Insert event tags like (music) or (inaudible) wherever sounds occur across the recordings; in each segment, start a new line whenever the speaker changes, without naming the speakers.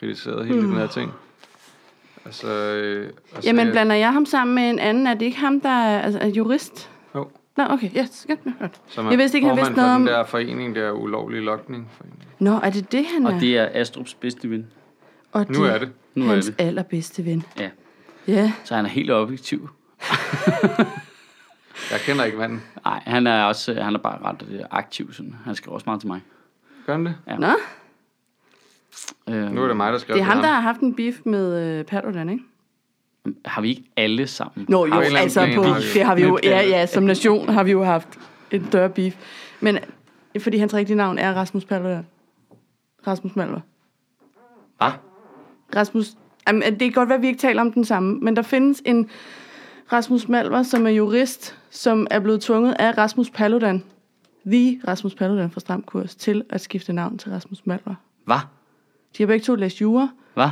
kritiseret hele den her ting. Altså, øh, altså
Mm. Jamen,
jeg-
blander jeg ham sammen med en anden? Er det ikke ham, der er, altså, er jurist?
Jo.
Nå, okay. Yes. Godt, godt, godt.
som er
Jeg vidste ikke, han
formand
vidste noget
for
om...
den der forening, der ulovlig lokning.
Nå, er det det, han
Og
er?
det er Astrup's bedste ven.
og
Nu er det.
Nu
hans
er det.
allerbedste ven.
Ja.
Ja.
Så han er helt objektiv.
Jeg kender ikke manden.
Nej, han er også øh, han er bare ret øh, aktiv. Sådan. Han skriver også meget til mig.
Gør han det?
Nå,
Øh,
Nu er det mig, der skal
det er ham, der har haft en beef med øh, Paludan, ikke?
Har vi ikke alle sammen?
Nå jo,
en eller anden
altså
plan
på,
har vi.
det har vi jo,
Men-
ja, ja, som nation har vi jo haft en større beef. Men fordi hans rigtige navn er Rasmus Paludan. Rasmus Malver.
Hvad?
Rasmus, jamen, det kan godt være, at vi ikke taler om den samme, men der findes en Rasmus Malver, som er jurist, som er blevet tvunget af Rasmus Paludan, the Rasmus Paludan fra Stram Kurs, til at skifte navn til Rasmus Malver.
Hvad?
De har begge to læst jura,
Hvad?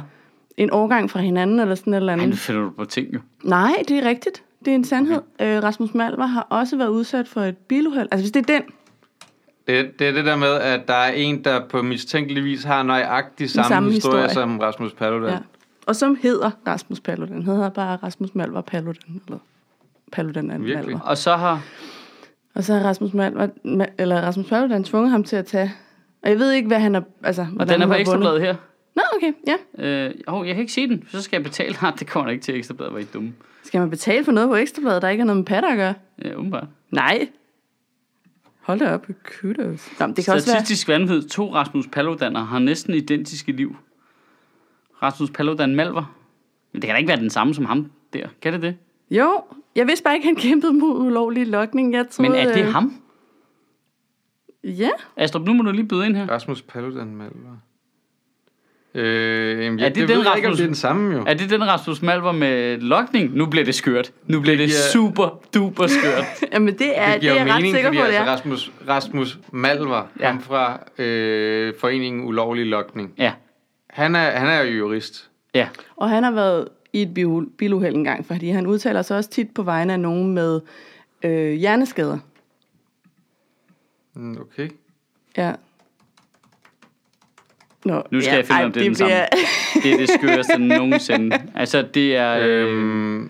en årgang fra hinanden eller sådan et eller andet.
Han finder du på ting jo.
Nej, det er rigtigt. Det er en sandhed. Okay. Øh, Rasmus Malver har også været udsat for et biluheld. Altså, hvis det er den
Det, det er det der med, at der er en, der på mistænkelig vis har nøjagtig samme,
samme
samme historie,
historie.
historie som Rasmus Paludan.
Ja.
Ja.
Og som hedder Rasmus Paludan. Han hedder bare Rasmus Malver Paludan. Eller Paludan er en
Virkelig?
Malver.
Og så har...
Og så har Rasmus, Malver, Ma- eller Rasmus Paludan tvunget ham til at tage... Og jeg ved ikke, hvad han er... Altså,
Og
hvordan
den er
han
på
har vundet.
ekstrabladet her.
Nå, okay, ja.
Øh, oh, jeg kan ikke se den. Så skal jeg betale. Nej, (laughs) det kommer da ikke til ekstrabladet. Var I dumme?
Skal man betale for noget på ekstrabladet, der ikke har noget med patter at gøre?
Ja, umiddelbart.
Nej. Hold da op, kudos. Nå, men det kan også være...
Statistisk vanvid. To Rasmus Paludaner har næsten identiske liv. Rasmus Paludan Malver. Men det kan da ikke være den samme som ham der. Kan det det?
Jo, jeg vidste bare ikke, han kæmpede mod ulovlig lokning. Jeg troede,
Men er det
øh,
ham?
Ja. (laughs)
Astrup, nu må du lige byde ind her.
Rasmus Paludan Malver. Øh, jamen,
Er
jeg, det,
det den
det ved jeg ikke, om
Rasmus-
det er den samme jo.
Er det den Rasmus Malver med lokning? Nu bliver det skørt. Nu bliver det, det
Det giver-
super duper skørt.
Jamen, det er, det
giver
det er
jo
jeg ret
mening,
sikker på,
fordi
det er.
altså Rasmus, Rasmus Malver,
Ja.
ja. ham fra øh, foreningen Ulovlig Lokning,
(laughs) ja,
han er, han er jo jurist.
ja.
Og han har været i et biu- biluheld engang, fordi han udtaler sig også tit på vegne af nogen med øh, hjerneskader.
Mm, Okay.
Ja. Nå,
Nu skal jeg finde, om det er den samme. Det er det skøreste nogensinde. Altså, det er... Øh,
Øhm,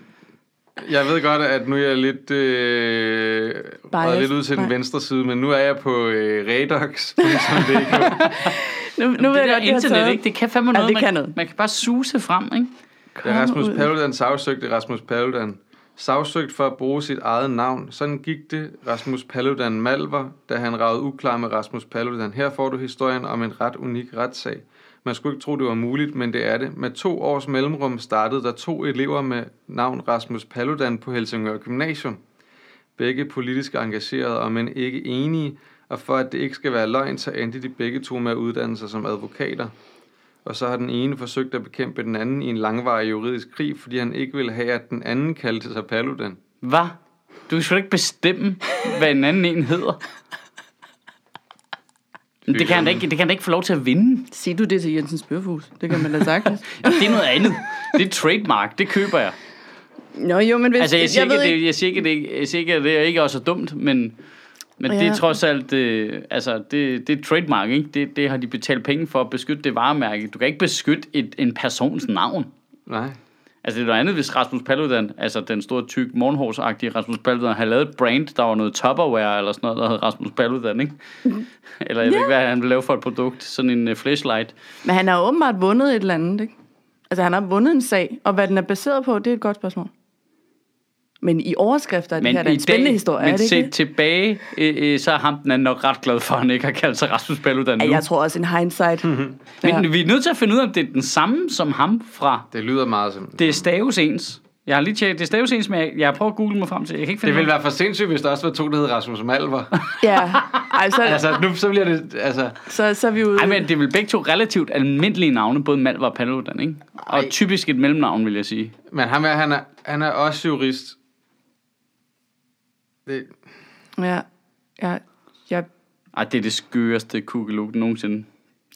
jeg ved godt, at nu er jeg lidt, øh,
Biased.
røget lidt ud til den
Nej.
venstre side, men nu er jeg på øh, Redox.
(laughs) nu, nu ved jeg
det der
godt, det har
internet,
taget.
ikke? Det kan fandme noget.
det
man,
kan noget.
man kan bare suse frem, ikke?
Da Rasmus
ud.
Paludan sagsøgte Rasmus Paludan. Sagsøgt for at bruge sit eget navn. Sådan gik det Rasmus Paludan Malver, da han ragede uklar med Rasmus Paludan. Her får du historien om en ret unik retssag. Man skulle ikke tro, det var muligt, men det er det. Med to års mellemrum startede der to elever med navn Rasmus Paludan på Helsingør Gymnasium. Begge politisk engagerede og men ikke enige, og for at det ikke skal være løgn, så endte de begge to med at uddanne sig som advokater. Og så har den ene forsøgt at bekæmpe den anden i en langvarig juridisk krig, fordi han ikke ville have, at den anden kaldte sig Paludan.
Hvad? Du kan sgu da ikke bestemme, hvad en anden en hedder. Men det kan, han da ikke, det kan han da ikke få lov til at vinde.
Siger du det til Jensens Bøfhus? Det kan man da
(laughs)
sagtens.
Jamen, det er noget andet. Det er trademark. Det køber jeg.
Nå jo, men hvis...
Altså, jeg siger,
jeg ved
ikke,
ikke,
det, jeg siger ikke, det, ikke- jeg siger ikke, at det er ikke også er dumt, men, men ja. det
Ja.
er trods alt, øh, altså, det, det er trademark, ikke? Det, det har de betalt penge for at beskytte det varemærke. Du kan ikke beskytte et, en persons navn.
Nej.
Altså, det er noget andet, hvis Rasmus Paludan, altså den store, tyk, morgenhårsagtige Rasmus Paludan, havde lavet et brand, der var noget Tupperware eller sådan noget, der hed Rasmus
(laughs)
Paludan, ikke? Eller jeg ja. ved ikke, hvad han ville lave for et produkt. Sådan en uh, flashlight.
Men han har åbenbart vundet et eller andet, ikke? Altså, han har vundet en sag, og hvad den er baseret på, det er et godt spørgsmål. Men i overskrifter er det her da en spændende historie,
men
er det ikke?
set
det?
tilbage, øh, øh, så er ham den anden nok ret glad for, at han ikke har kaldt sig Rasmus Paludan nu. Mhm.
Ja, jeg tror også en hindsight.
Men
Ja.
vi er nødt til at finde ud af, om det er den samme som ham fra...
Det lyder meget som... Det,
Det er staves ens. Jeg har lige tjekket, det er staves ens, men jeg, jeg har prøvet at google mig frem til. Jeg kan ikke finde
det ville være for sindssygt, hvis der også var to, der hed Rasmus Malver.
(laughs)
Ja, altså,
altså, nu så bliver det... Altså,
så, så er vi ude.
Ej, men det er vel begge to relativt almindelige navne, både Malvar og Paludan, ikke? Og typisk et mellemnavn, vil jeg sige.
men ham er, han, er, han er også jurist. Det,
Ja, ja, jeg
Ej, det er det skøreste kukkeluk nogensinde.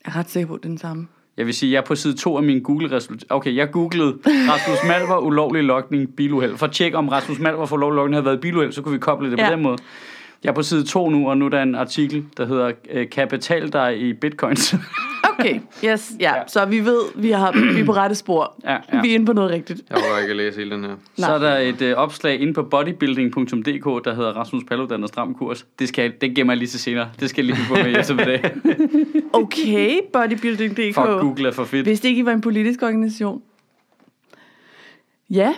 er ret sikker på, at det er den samme.
Jeg vil sige, jeg er på side 2 af min Google-resultat. Okay, jeg googlede Rasmus Malvar, ulovlig lokning, biluheld. For at tjekke, om Rasmus Malvar for ulovlig lokning havde været biluheld, så kunne vi koble det ja.
Ja.
på den måde. Jeg er på side 2 nu, og nu er der en artikel, der hedder øh, Kapital, der er i bitcoins.
Okay, yes, ja. Yeah. Så vi ved, vi, har, vi er på rette spor.
Ja, ja.
Vi er inde på noget rigtigt.
Jeg var ikke at læse hele den her.
Så er der et øh, opslag inde på bodybuilding.dk, der hedder Rasmus Paludan og Stram Kurs. Det, skal, jeg- det gemmer jeg lige til senere. Det skal jeg lige få med i (laughs) eftermiddag.
Okay, bodybuilding.dk.
Fuck, Google er for fedt.
Hvis det ikke I var en politisk organisation. Ja.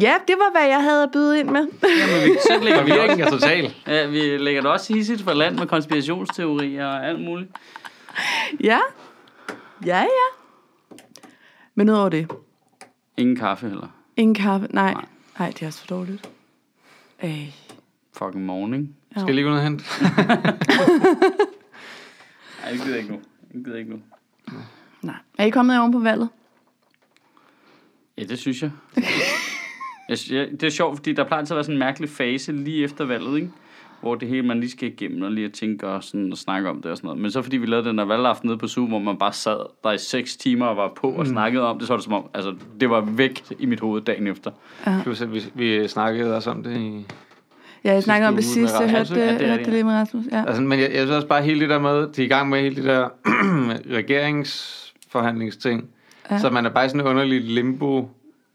Ja, det var, hvad jeg havde at byde ind med. (laughs)
Jamen, vi, så lægger vi, også,
er total.
ja, vi lægger det også hissigt for land med konspirationsteorier og alt muligt.
ja. Ja, ja. Men udover det.
Ingen kaffe heller.
Ingen kaffe. Nej.
Nej.
Nej, det er også for dårligt. Ej.
Fucking morning.
Skal jeg lige gå ned og hente?
Nej, det gider ikke nu. Det gider ikke nu.
Nej. Er I kommet oven på valget?
Ja, det
(laughs)
synes jeg. jeg sy- jeg- det er sjovt, fordi der plejer altid at være sådan en mærkelig fase lige efter valget, ikke? hvor det hele man lige skal igennem og lige at tænke og, sådan, og snakke om det og sådan noget. Men så fordi vi lavede den der valgaften nede på Zoom, hvor man bare sad der i 6 timer og var på
Mm.
og snakkede om det, så var det som om, altså det var væk i mit hoved dagen efter.
Plus, at vi, vi snakkede også om det i...
Ja, jeg snakkede om det
uge med
sidste. Jeg
Rasmus, ikke?
hørte
Ja,
det,
det er
hørte
det,
det lige med Rasmus. Ja.
Altså, men jeg, jeg synes også bare hele det der med, de er i gang med hele det der (clears throat) regeringsforhandlingsting. Ja. Så man er bare i sådan en underlig limbo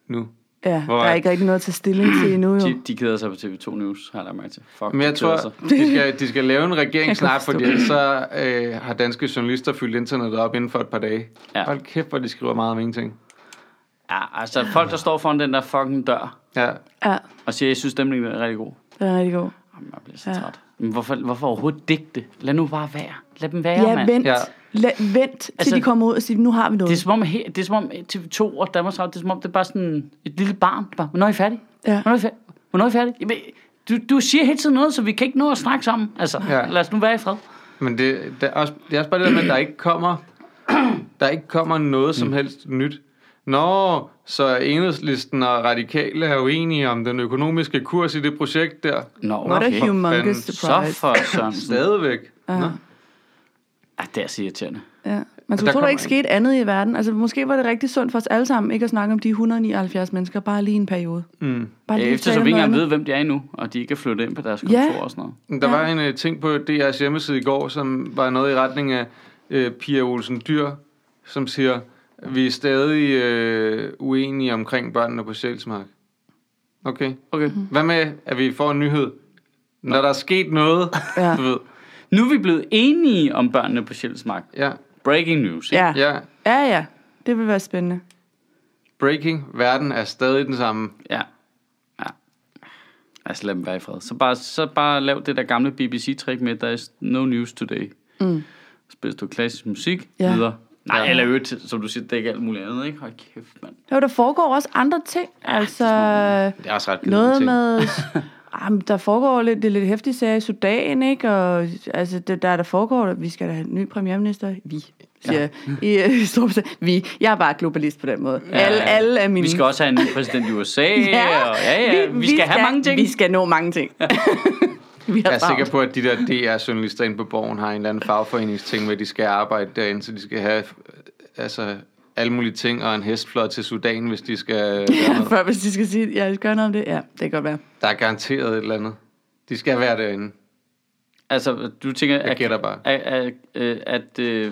nu.
ja
hvor
der er
at-
ikke rigtig noget at tage stilling til endnu,
(clears throat)
jo.
De, de keder sig på TV2 News, har jeg lagt mærke til. Fuck,
Men jeg
de keder
tror,
sig.
de skal, de skal lave en regering
Jeg kan
snart,
forstå
fordi ellers så øh, har danske journalister fyldt internettet op inden for et par dage.
Ja.
Ja. Hold kæft, hvor de skriver meget om ingenting.
Ja, altså folk, der står foran den der fucking dør
Ja,
Ja,
og siger, jeg synes, stemningen er rigtig god.
det er rigtig god.
Jamen, jeg bliver så
Ja.
ja. træt. Men hvorfor, hvorfor overhovedet digte? Lad nu bare være. Lad dem være,
Ja,
mand.
vent.
Ja.
La- vent til
Altså-
de kommer ud og siger, nu har vi noget.
Det er som om, her, det er som om eh, TV2 og Danmarks Radio, det er som om, det er bare sådan et lille barn. der Bare, hvornår er I færdige?
Ja.
Hvornår er I færdige? Hvornår er I færdige? Jamen, du, du siger hele tiden noget, så vi kan ikke nå at snakke sammen. Altså, ja.
Ja.
lad os nu være i fred.
men det, det, er også, det er også bare det der med, at der ikke kommer, (clears throat) der ikke kommer noget som helst nyt. Nå, så enhedslisten og radikale er uenige om den økonomiske kurs i det projekt der.
Nå,
What
okay.
a humongous
Så
Så
surprise.
for
(laughs)
Sørensen.
Stadigvæk.
Ja.
Nå.
Ah, det er så irriterende.
Ja. Man
der
skulle tro, der
kommer
ikke skete andet i verden. Altså, måske var det rigtig sundt for os alle sammen, ikke at snakke om de 179 mennesker, bare lige en periode.
Mm.
Bare lige
Øh, Efter så
tale
vi
om
ikke engang
noget
ved, hvem de er endnu, og de ikke er flyttet ind på deres kontor
Ja.
og sådan noget.
Der
Ja.
var en uh, ting på DR's hjemmeside i går, som var noget i retning af uh, Pia Olsen Dyr, som siger, vi er stadig uh, uenige omkring børnene på Sjælsmark. Okay.
Okay.
Mm-hmm.
Hvad med, at vi får en nyhed? Når der er sket noget,
Ja.
du ved.
Nu er vi blevet enige om børnene på Sjælsmark.
Ja,
Breaking news. ikke?
andet. Ja.
ja.
ja, ja. Det vil være spændende.
Breaking. Verden er stadig den samme.
Ja. ja. Altså lad dem være i fred. Så bare, så bare lav det der gamle BBC-trick med, der is no news today. Mm. Spil du klassisk musik,
Ja.
ja. videre. Nej, eller i øvrigt, som du siger, det er ikke alt muligt andet, ikke? Hold kæft, mand.
Jo, der foregår også andre ting. Altså,
Det er også ret kedelige
noget
ting.
med...
(laughs)
Jamen, der foregår lidt, det er lidt hæftige sager i Sudan, ikke? Og altså, det, der, der foregår... Vi skal da have en ny premierminister. Vi, siger ja. i, øh, (laughs) Storbritannien. Vi. Jeg er bare globalist på den måde. Ja, alle, alle er mine.
Vi skal også have en ny præsident i USA, og, (laughs) ja,
(laughs)
ja, vi, vi skal have mange ting.
Vi skal nå mange ting. (laughs) vi har
Jeg er
travlt.
sikker på, at de der DR-journalister inde på borgen har en eller anden fagforeningsting, hvor de skal arbejde derinde, så de skal have øh, altså, alle mulige ting, og en hestflot til Sudan, hvis de skal...
Ja, før hvis de skal sige, ja, jeg skal gøre noget om det. Ja, det kan godt være.
Der er garanteret et eller andet. De skal være derinde.
Altså, du tænker,
Jeg gætter bare.
at, at, at, at øh,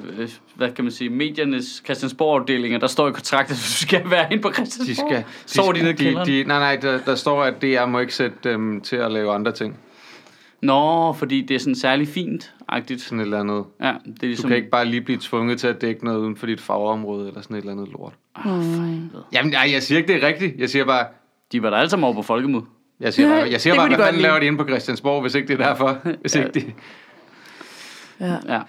hvad kan man sige, mediernes Christiansborg-afdelinger, der står i (laughs) kontrakten, at du skal være inde på Christiansborg.
De skal... De
Sover de
skal-
nede i kælderen?
de, Nej, nej, der, der står, at DR må ikke sætte dem til at lave andre ting.
Nå, fordi det er sådan særlig fint-agtigt.
Sådan et eller andet.
Ja, det er
Du
ligesom...
kan ikke bare lige blive tvunget til at dække noget uden for dit fagområde, eller sådan et eller andet lort.
Mm.
Jamen, nej, jeg siger ikke, det er rigtigt. Jeg siger bare...
De var da alle sammen over på folkemødet.
Jeg siger
Ja,
bare, jeg siger
det
bare
kunne de
hvad
godt
fanden
lide.
laver de inde på Christiansborg, hvis ikke det er derfor? Hvis
Ja.
ikke de...
Ja.
Ja.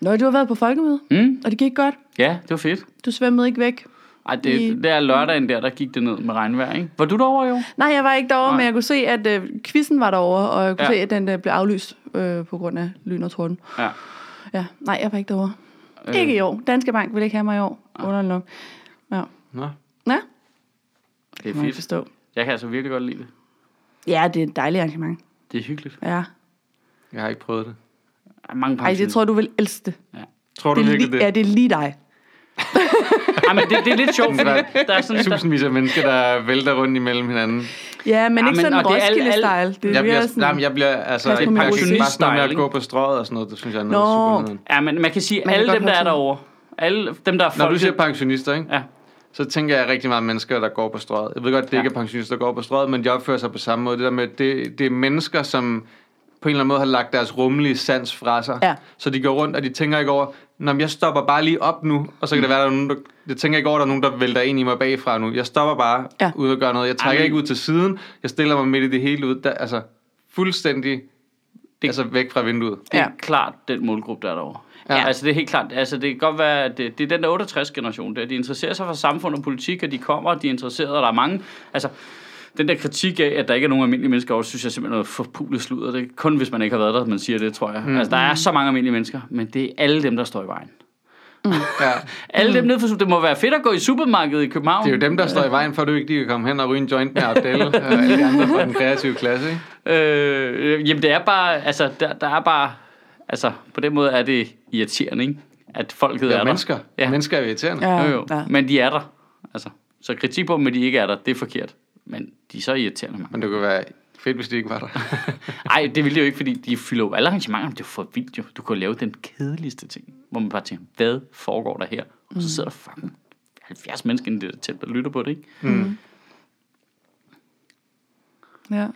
Nå, du har været på folkemøde,
Mm?
og det gik godt.
ja, det var fedt.
Du svømmede ikke væk.
Ej, det, det er lørdagen der, der gik det ned med regnvejr, ikke? Var du derovre, jo?
Nej, jeg var ikke derovre,
Nej.
men jeg kunne se, at øh, quizzen var derovre, og jeg kunne
Ja.
se, at den øh, blev aflyst øh, på grund af lyn og torden.
Ja.
Ja, nej, jeg var ikke derovre. Øh. Ikke i år. Danske Bank ville ikke have mig i år.
Ah.
Underligt nok. Ja,
Nå.
ja
Det er
må jeg
fedt.
forstå.
Jeg kan altså virkelig godt lide det.
Ja, det er et dejligt arrangement.
Det er hyggeligt.
Ja.
Jeg har ikke prøvet det.
Der er mange
Ej, det tror jeg, du vil elske det.
Tror du
det er
virkelig
lige, ja,
det?
det er lige dig.
Ej, men det, det er lidt sjovt, fordi der er sådan... Der,
Tusindvis af mennesker, der vælter rundt imellem hinanden.
Ja, men
Ja,
ikke
men-
sådan
og det er alle-
Roskilde-style. Det er
Jeg
mere
bliver,
sådan...
nej, men jeg bliver altså...
Pas på
Jeg
min
kan ikke bare sådan noget med
pensionist-style,
at gå på strøget og sådan noget. Det synes jeg er
Nå.
noget super nederen.
ja, men man kan sige,
Man
at
kan
alle
godt
dem, der er
holde til
derovre, Alle dem, der er
Når du
folke...
siger pensionister, ikke?
Ja.
så tænker jeg rigtig meget mennesker, der går på strøget. Jeg ved godt, det
Ja.
ikke er pensionister, der går på strøget, men de opfører sig på samme måde. Det, der med, det, det er mennesker, som på en eller anden måde har lagt deres rummelige sans fra sig.
Ja.
Så de går rundt, og de tænker ikke over, Nå, men jeg stopper bare lige op nu, og så kan det være, der er nogen, der, jeg tænker ikke over, der er nogen, der vælter ind i mig bagfra nu. Jeg stopper bare
Ja.
ja. ud og gør noget. Jeg trækker
men-
ikke ud til siden. Jeg stiller mig midt i det hele ud. Der, altså, fuldstændig det, altså væk fra vinduet.
det er
Ja.
ja. klart den målgruppe, der er derovre.
Ja.
Ja. Altså, det er helt klart. Altså, det kan godt være, at det, det er den der 68-generation der. De interesserer sig for samfund og politik, og de kommer, og de er interesserede, og der er mange... Altså, den der kritik af, at der ikke er nogen almindelige mennesker over, synes jeg simpelthen er noget forpulet sludder. Det er kun, hvis man ikke har været der, at man siger det, tror jeg. Mm. Altså, der er så mange almindelige mennesker, men det er alle dem, der står i vejen.
Ja.
Alle dem nede for, det må være fedt at gå i supermarkedet i København.
Mm. Det er jo dem, der står i vejen for, at du ikke lige kan komme hen og ryge en joint med (laughs) Abdel og alle de andre fra den kreative klasse. Ikke?
Øh, jamen, det er bare, altså, der, der er bare, altså, på den måde er det irriterende, ikke? At folket
Det
er
er
der.
mennesker.
Ja.
Ja. Mennesker er jo irriterende.
Ja.
Ja.
Jo, jo.
Ja.
Men de er der. Altså, så kritik på dem, at de ikke er der, det er forkert. Men de er så irriterende mange.
Men det kunne være fedt, hvis de ikke var der.
Ej, det ville de jo ikke, fordi de fylder jo alle arrangementer. Det er jo for vildt jo. Du kunne lave den kedeligste ting, hvor man bare tænker, hvad foregår der her?
Mm.
Og så sidder der fucking 70 mennesker inde i det der telt, der lytter på det, ikke?
Ja.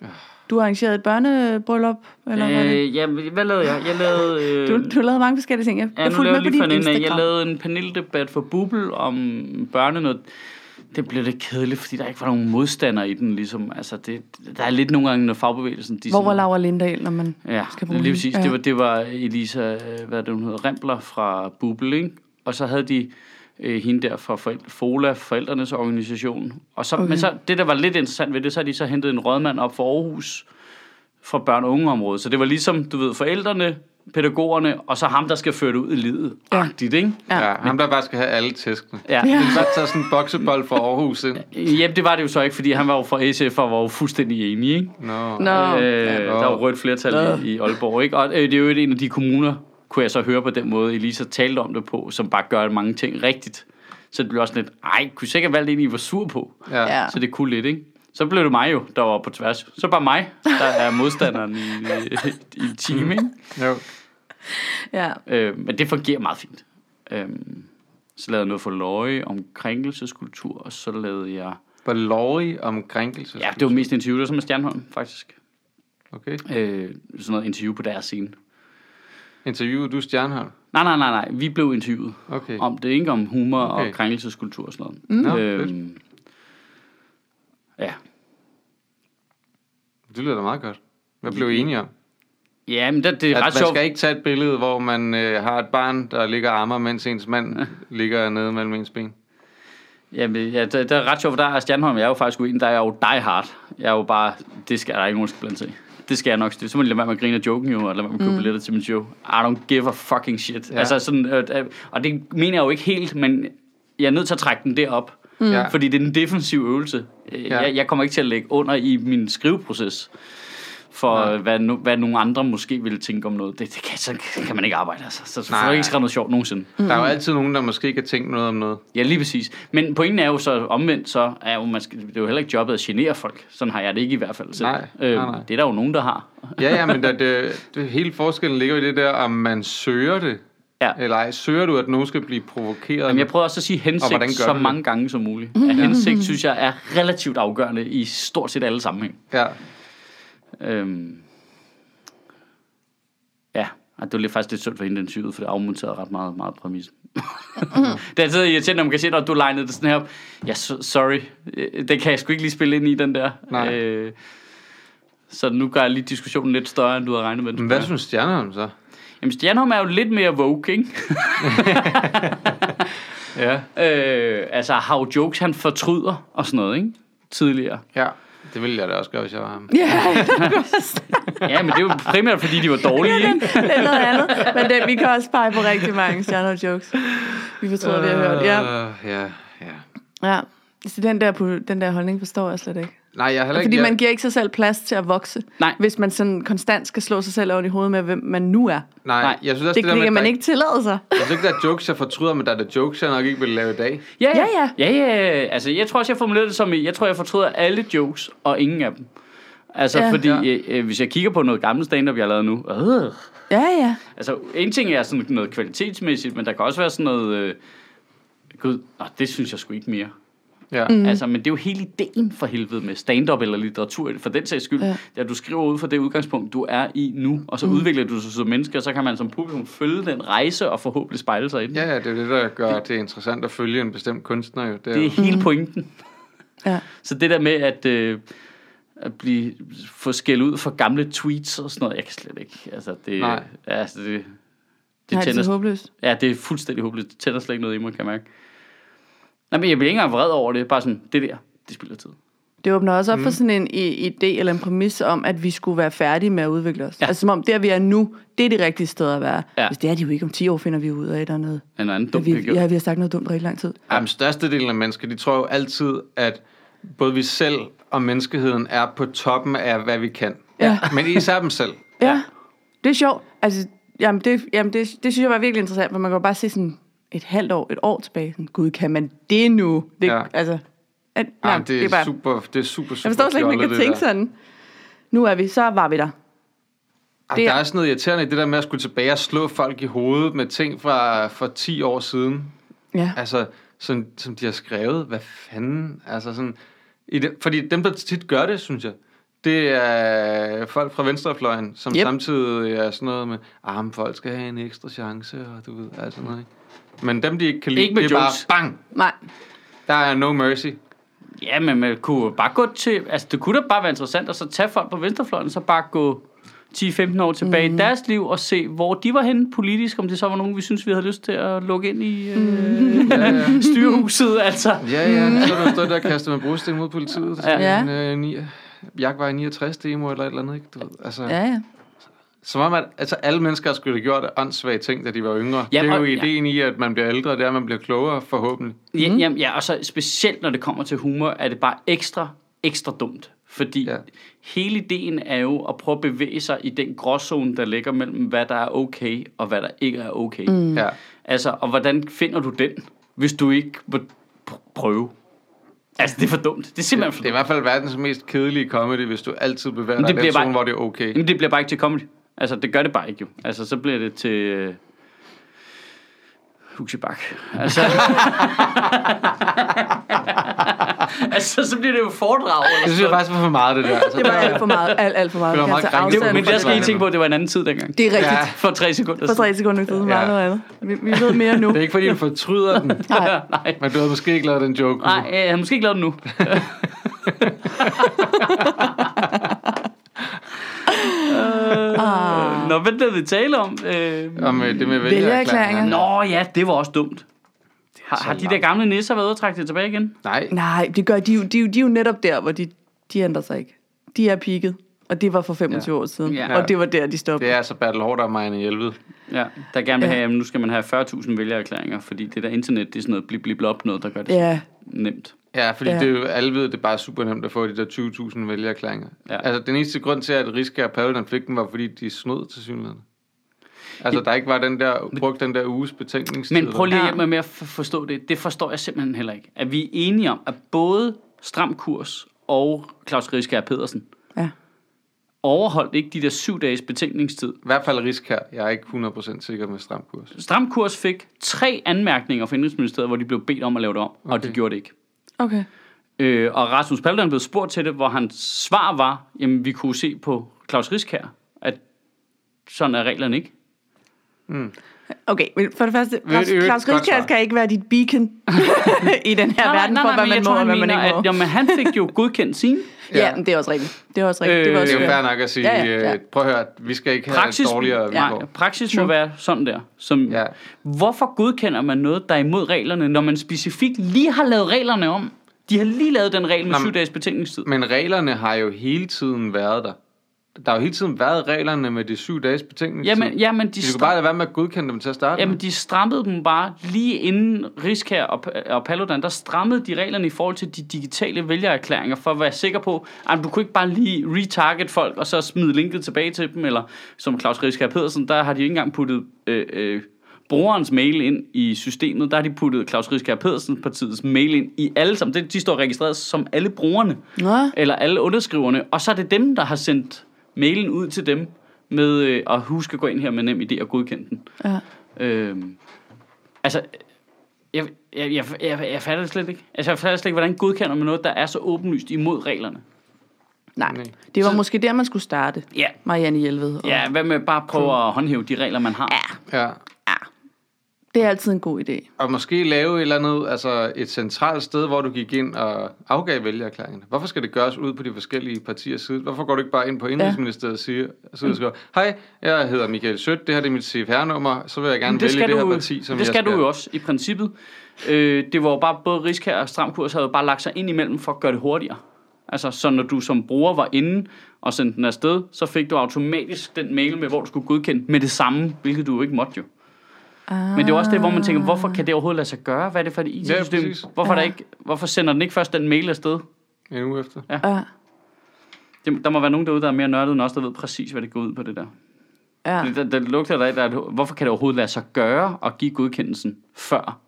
Du har arrangeret et børnebryllup, eller hvad var det?
Øh, ja, hvad lavede jeg? Jeg lavede... Øh,
Du, du lavede mange forskellige ting. Jeg,
Ja,
jeg
nu
fulgte
lavede
med på
lige
din
fanden af. Jeg
Instagram.
lavede en paneldebat for Bubble om børne noget. Det blev lidt kedeligt, fordi der ikke var nogen modstandere i den, ligesom. Altså, det, der er lidt nogle gange, når fagbevægelsen... De
Hvor var
sådan-
Laura Lindahl, når man
Ja,
skal bruge
lige
hende?
præcis. Ja. Det, var, det var Elisa, øh, hvad er det, hun hedder, Rempler fra Bubble, ikke? Og så havde de øh, hende der fra forældre, FOLA, forældrenes organisation. Og så, okay. Men så, det, der var lidt interessant ved det, så har de så hentet en rådmand op fra Aarhus fra børn- og ungeområdet. Så det var ligesom, du ved, forældrene, pædagogerne, og så ham, der skal føre det ud i livet.
Ja.
Agtigt, ikke?
Ja.
Ja. ja. Ham, der bare skal have alle tæskene.
Ja.
Ja.
ja.
Det er bare taget sådan en boksebold fra Aarhus ind.
(laughs) Jamen, det var det jo så ikke, fordi han var jo fra SF og var jo fuldstændig enig, ikke?
Nå.
Nå,
Øh,
ja.
der var rødt flertal i, i Aalborg, ikke? Og øh, det er jo en af de kommuner, kunne jeg så høre på den måde, Elisa talte om det på, som bare gør mange ting rigtigt. Så det blev også sådan lidt, ej, kunne I sikkert have valgt en, I var sur på.
Ja.
Ja.
ja.
Så det kunne lidt, ikke? Så blev det mig jo, der var på tværs. Så bare mig, der er modstanderen i, i, i en time, ikke?
Jo.
ja.
Øh, men det fungerer meget fint. Øh, så lavede jeg noget for løje om krænkelseskultur, og så lavede jeg...
På lovrig om krænkelse.
Ja, det var mest interview, der var så med Stjernholm, faktisk.
Okay.
Øh, sådan noget interview på deres scene.
Interviewede du Stjernholm?
Nej, nej, nej, nej. Vi blev interviewet
Okay.
om det, ikke om humor okay.
Okay. Mm.
og krænkelseskultur og sådan
Nå,
noget. Øhm,
fedt.
ja.
Det lyder da meget godt. Hvad blev I enige om?
ja, men det, det er
At
ret
man
sjovt.
skal ikke tage et billede, hvor man øh, har et barn, der ligger og ammer, mens ens mand ligger nede mellem ens ben.
Jamen, ja, det, det, er ret sjovt, for der er Stjernholm, jeg er jo faktisk uenig, der er jeg jo die hard. Jeg er jo bare, det skal der er ikke nogen, der skal blande sig i. Det skal jeg nok styre. Så må jeg lade være med at grine af joken jo, og lade være med at købe billetter til min show. I don't give a fucking shit.
Ja.
Ja. Altså sådan, øh, øh, og det mener jeg jo ikke helt, men jeg er nødt til at trække den derop. Mm.
Ja.
Fordi det er en defensiv øvelse.
Ja.
Ja. Jeg, jeg kommer ikke til at lægge under i min skriveproces for
Nej.
ja. hvad, no, hvad nogle andre måske ville tænke om noget. Det, det kan, så kan man ikke arbejde, altså. Så, så får
Nej.
jeg ikke skrevet noget sjovt nogensinde.
Der er jo altid nogen, der måske ikke har tænkt noget om noget.
Ja, lige præcis. Men pointen er jo så omvendt, så er jo, man skal, det er jo heller ikke jobbet at genere folk. Sådan har jeg det ikke i hvert fald selv. Øhm,
Nej, nej, nej.
Det er der jo nogen, der har.
Ja, ja, men der, det, det, hele forskellen ligger i det der, om man søger det,
Ja.
eller ej. Søger du, at nogen skal blive provokeret?
Jamen, jeg prøver også at sige
Og hvordan
hensigt
gør
så
du det?
mange gange som muligt. Ja, hensigt, synes jeg, er relativt afgørende i stort set alle sammenhæng.
Ja.
Øhm. Ja, og det var lidt, faktisk lidt synd for hende, den syede, for det afmonterede ret meget, meget
(laughs)
præmissen. det er altid irriterende, når man kan se, når du legnede det sådan her op. Ja, so- sorry, Øh, det kan jeg sgu ikke lige spille ind i, den der.
Nej.
Øh, så nu gør jeg lige diskussionen lidt større, end du havde regnet med. den
Men hvad
skulle
synes Stjernholm så?
være. Jamen, Stjernholm er jo lidt mere woke, ikke?
(laughs) Ja.
øh, altså, har jo jokes, han fortryder og sådan noget, ikke? Tidligere.
Ja, det ville jeg da også gøre, hvis jeg var ham.
Ja, (laughs)
Ja, men det er jo primært, fordi de var dårlige, ikke?
det er noget andet. Men det, vi kan også pege på rigtig mange stjerner jokes. Vi fortryder, vi har hørt. Ja.
Øh, ja, ja.
ja. Så den der, på- den der holdning forstår jeg slet ikke.
Nej, jeg er heller ikke...
Fordi
jeg,
man giver ikke sig selv plads til at vokse.
Nej.
Hvis man sådan konstant skal slå sig selv oven i hovedet med, hvem man nu er.
nej,
Nej,
jeg synes også,
Det,
det, det der
det
med,
kan
at
man
der,
ikke tillade sig.
Jeg synes ikke, der er jokes, jeg fortryder, men der er da jokes, jeg nok ikke ville lave i dag.
Ja, ja,
Ja,
ja. ja, ja. Altså, jeg tror også, jeg formulerede det som, i, jeg tror, jeg fortryder alle jokes og ingen af dem. Altså,
Ja.
ja. fordi
Ja.
øh, øh, hvis jeg kigger på noget gammelt stand-up, jeg har lavet nu, øh,
Ja, ja.
altså, en ting er sådan noget kvalitetsmæssigt, men der kan også være sådan noget, øh, gud, nå, det synes jeg sgu ikke mere.
Ja.
Mm. Altså, men det er jo hele ideen for helvede med stand-up eller litteratur, for den sags skyld.
Ja.
Ja. Det er, at du skriver ud fra det udgangspunkt, du er i nu, og så mm. udvikler du sig som menneske, og så kan man som publikum følge den rejse og forhåbentlig spejle sig i den.
Ja, ja, det er det, der gør det interessant at følge en bestemt kunstner. Jo. Det er,
Det er
jo-
Mm.
hele pointen.
Ja.
Så det der med at, øh, at blive, få skæld ud for gamle tweets og sådan noget, jeg kan slet ikke. Altså, det,
Nej.
Altså, det, det,
Nej, det er
tænder,
så håbløst.
Ja, det er fuldstændig håbløst. Det tænder slet ikke noget i mig, kan jeg mærke. Nej, men jeg bliver ikke engang vred over det. Bare sådan, det der, det spilder tid.
Det åbner også op mm. for sådan en i- idé eller en præmis om, at vi skulle være færdige med at udvikle os. Ja. Altså som om der, vi er nu, det er det rigtige sted at være. Ja.
Ja.
Hvis det er de jo ikke om 10 år, finder vi ud af, at der er noget.
Er noget andet
Dumt,
dumt,
vi,
vi har gjort.
ja, vi har sagt noget dumt rigtig lang tid.
Jamen, størstedelen af mennesker, de tror jo altid, at både vi selv og menneskeheden er på toppen af, hvad vi kan.
Ja.
Men især dem
(laughs)
selv.
Ja, det er sjovt. Altså, jamen det, jamen det, det synes jeg var virkelig interessant, for man kan jo bare se sådan et halvt år, et år tilbage. Sådan, Gud, kan man det nu? Det, ja.
Ja.
altså, at, nej,
Jamen, det, er
bare,
super, det er super, super
jeg forstår slet ikke, man
fjollet,
kan
det
tænke
der.
sådan. Nu er vi, så var vi der.
Jamen,
Det er-
der er sådan noget irriterende i det der med at skulle tilbage og slå folk i hovedet med ting fra for 10 år siden.
Ja,
Altså, som, som de har skrevet. Hvad fanden? Altså sådan, i det, fordi dem, der tit gør det, synes jeg, det er folk fra venstrefløjen, som
Yep.
yep. samtidig er sådan noget med, ah, men folk skal have en ekstra chance, og du ved, altså noget, ikke? Men dem, de ikke kan lide,
Ikke med
det er
jokes.
bare, bang,
nej.
der er no mercy.
Ja, men man kunne bare gå til... Altså, det kunne da bare være interessant at så tage folk på venstrefløjen, og så bare gå 10-15 år tilbage mm. i deres liv og se, hvor de var henne politisk, om det så var nogen, vi synes, vi havde lyst til at lukke ind i (laughs) øh,
Ja, ja.
styrehuset, altså.
Ja, ja, så er der stået der og kastet med brosten mod politiet. Der skal
Ja.
ja. en, øh, ni, jeg var i 69 demo eller et eller andet, ikke? Du ved, altså,
Ja,
ja.
ja.
Som om, at altså, alle mennesker skulle have gjort åndssvage ting, da de var yngre.
Ja,
Ja, det er jo
og- ja.
ideen i, at man bliver ældre, det er, at man bliver klogere, forhåbentlig.
Ja, jamen, ja, og så specielt når det kommer til humor, er det bare ekstra, ekstra dumt. Fordi
Ja.
ja. hele ideen er jo at prøve at bevæge sig i den gråzone, der ligger mellem, hvad der er okay, og hvad der ikke er okay. Mm.
Ja.
Altså, og hvordan finder du den, hvis du ikke må pr- prøve? Altså, det er for dumt. Det er simpelthen for
Det er i
dumt.
hvert fald verdens mest kedelige comedy, hvis du altid bevæger
Men
dig
det
i den
bliver
zone,
bare- Mm.
hvor det er okay.
Jamen, det bliver bare ikke til comedy. Altså, det gør det bare ikke jo. Altså, så bliver det til... Øh... Huxibak. Altså... altså, så bliver det jo foredrag. Eller
Det synes jeg faktisk var for meget, det der. Altså,
Det var alt for meget, alt, alt for meget.
Det var
Vi kan
meget
tage
krænkende.
afstand
Men
fra
der skal I
det.
tænke på, at det var en anden tid dengang.
Det er rigtigt.
Ja.
For tre sekunder
For tre sekunder siden var
Ja.
noget andet. Vi, vi ved mere nu.
Det er ikke, fordi du fortryder
(laughs)
den,
Nej.
Nej,
men du havde måske ikke lavet den joke.
nej øh, jeg har måske ikke lavet den nu.
(laughs) Ah.
Øh, Nå, hvad er det, vi taler om?
Om
Øh,
øh, det med
Vælgererklæringer.
vælgererklæringer.
Nå ja, det var også dumt. Har,
så
har de der
langt.
gamle nisser været ude og trække det tilbage igen?
Nej,
Nej, det gør de jo. De, er jo- de er jo netop der, hvor de, de ændrer sig ikke. De er peaked, og det var for 25 ja. år siden. Ja.
Ja.
Og det var der, de stoppede.
det er altså Bertel Hård og Marianne Hjelved.
Ja, der gerne vil
Ja.
have, at nu skal man have 40.000 vælgererklæringer, fordi det der internet, det er sådan noget blip blip blop noget, der gør det
Ja,
nemt.
Ja, fordi
Ja.
ja. det er jo, alle ved, det er bare super nemt at få de der 20.000 vælgererklæringer.
Ja.
Ja. Altså, den eneste grund til, at Riske og Paludan fik den, var fordi de snød til synligheden. Altså, der ikke var den der, brugt den der uges betænkningstid.
Men prøv lige at
Ja.
hjælpe mig med at f- forstå det. Det forstår jeg simpelthen heller ikke. At vi er enige om, at både Stram Kurs og Claus Rieskjær Pedersen
ja.
overholdt ikke de der syv dages betænkningstid.
I hvert fald Riske her. Jeg er ikke 100% sikker med stram kurs.
Stram Kurs fik tre anmærkninger fra Indrigsministeriet, hvor de blev bedt om at lave det om, okay. og det gjorde det ikke.
Okay.
Øh, og Rasmus Paludan blev spurgt til det, hvor hans svar var, jamen vi kunne se på Claus Riskær, at sådan er reglerne ikke.
Okay, men for det første,
er
Claus,
jo et
Claus
godt
Rieskjær
svar.
skal ikke være dit
(laughs)
beacon i den her verden for, hvad man
men jeg
må
tror,
og
han
hvad man
mener,
ikke må.
At, jamen, han fik jo godkendt sin.
(laughs) Ja, men det er også rigtigt. Det er også rigtigt. det, var
Øh,
Det
også
er jo
fair.
fair nok at sige,
Ja, ja, ja.
øh, prøv at høre, vi skal ikke have
Praksis,
Praksis, dårligere
ja,
vilkår.
praksis må være sådan der. Som,
Ja.
Hvorfor godkender man noget, der er imod reglerne, når man specifikt lige har lavet reglerne om? De har lige lavet den regel med
Nå, men-
syv dages betænkningstid.
Mm,
Men reglerne har jo hele tiden været der. Der har jo hele tiden været reglerne med de syv dages betænkningstid.
Jamen, jamen, de,
de skulle
stra-
bare lade være med at godkende dem til at starte med.
jamen, de strammede dem bare lige inden Riskær og, P- og Paludan, der strammede de reglerne i forhold til de digitale vælgererklæringer, for at være sikker på, at du kunne ikke bare lige retarget folk, og så smide linket tilbage til dem, eller som Claus Riskær Pedersen, der har de ikke engang puttet øh, øh, brugerens mail ind i systemet, der har de puttet Claus Riskær Pedersen partiets mail ind i alle sammen. Det- De står registreret som alle brugerne,
Nå.
eller alle underskriverne, og så er det dem, der har sendt mailen ud til dem med øh, at huske at gå ind her med nem idé og godkende den.
Ja.
Øhm, altså, jeg, jeg, jeg, jeg, jeg fatter det slet ikke. Altså, jeg fatter slet ikke, hvordan godkender man noget, der er så åbenlyst imod reglerne.
Nej,
Nej.
det var måske der, man skulle starte.
Ja.
Marianne Hjelved. Og...
Ja, hvad med bare at prøve at håndhæve de regler, man har? Ja.
Ja.
Det er altid en god idé.
Og måske lave et eller andet, altså et centralt sted, hvor du gik ind og afgav vælgererklæringerne. Hvorfor skal det gøres ud på de forskellige partiers side? Hvorfor går du ikke bare ind på Indrigsministeriet og siger, så og
Mm.
skriver, hej, jeg hedder Michael Sødt, det her det er mit CFR-nummer, så vil jeg gerne
Det
vælge
skal,
det her
du,
parti, som
det
jeg
skal du jo også, i princippet. Øh, det var jo bare, både Riskær og Stram Kurs havde jo bare lagt sig ind imellem for at gøre det hurtigere. Altså, så når du som bruger var inde og sendte den afsted, så fik du automatisk den mail med, hvor du skulle godkende med det samme, hvilket du jo ikke måtte jo.
Ah.
Men det er jo også det, hvor man tænker, hvorfor kan det overhovedet lade sig gøre? Hvad er det for et
Ja,
IT-system?
præcis.
hvorfor, er der
Ja.
ikke, hvorfor sender den ikke først den mail afsted?
En uge efter.
Ah, Ja,
Det, der må være nogen derude, der er mere nørdet end os, der ved præcis, hvad det går ud på det der.
ja.
Det, det, det lugter der, af, der er et- hvorfor kan det overhovedet lade sig gøre at give godkendelsen før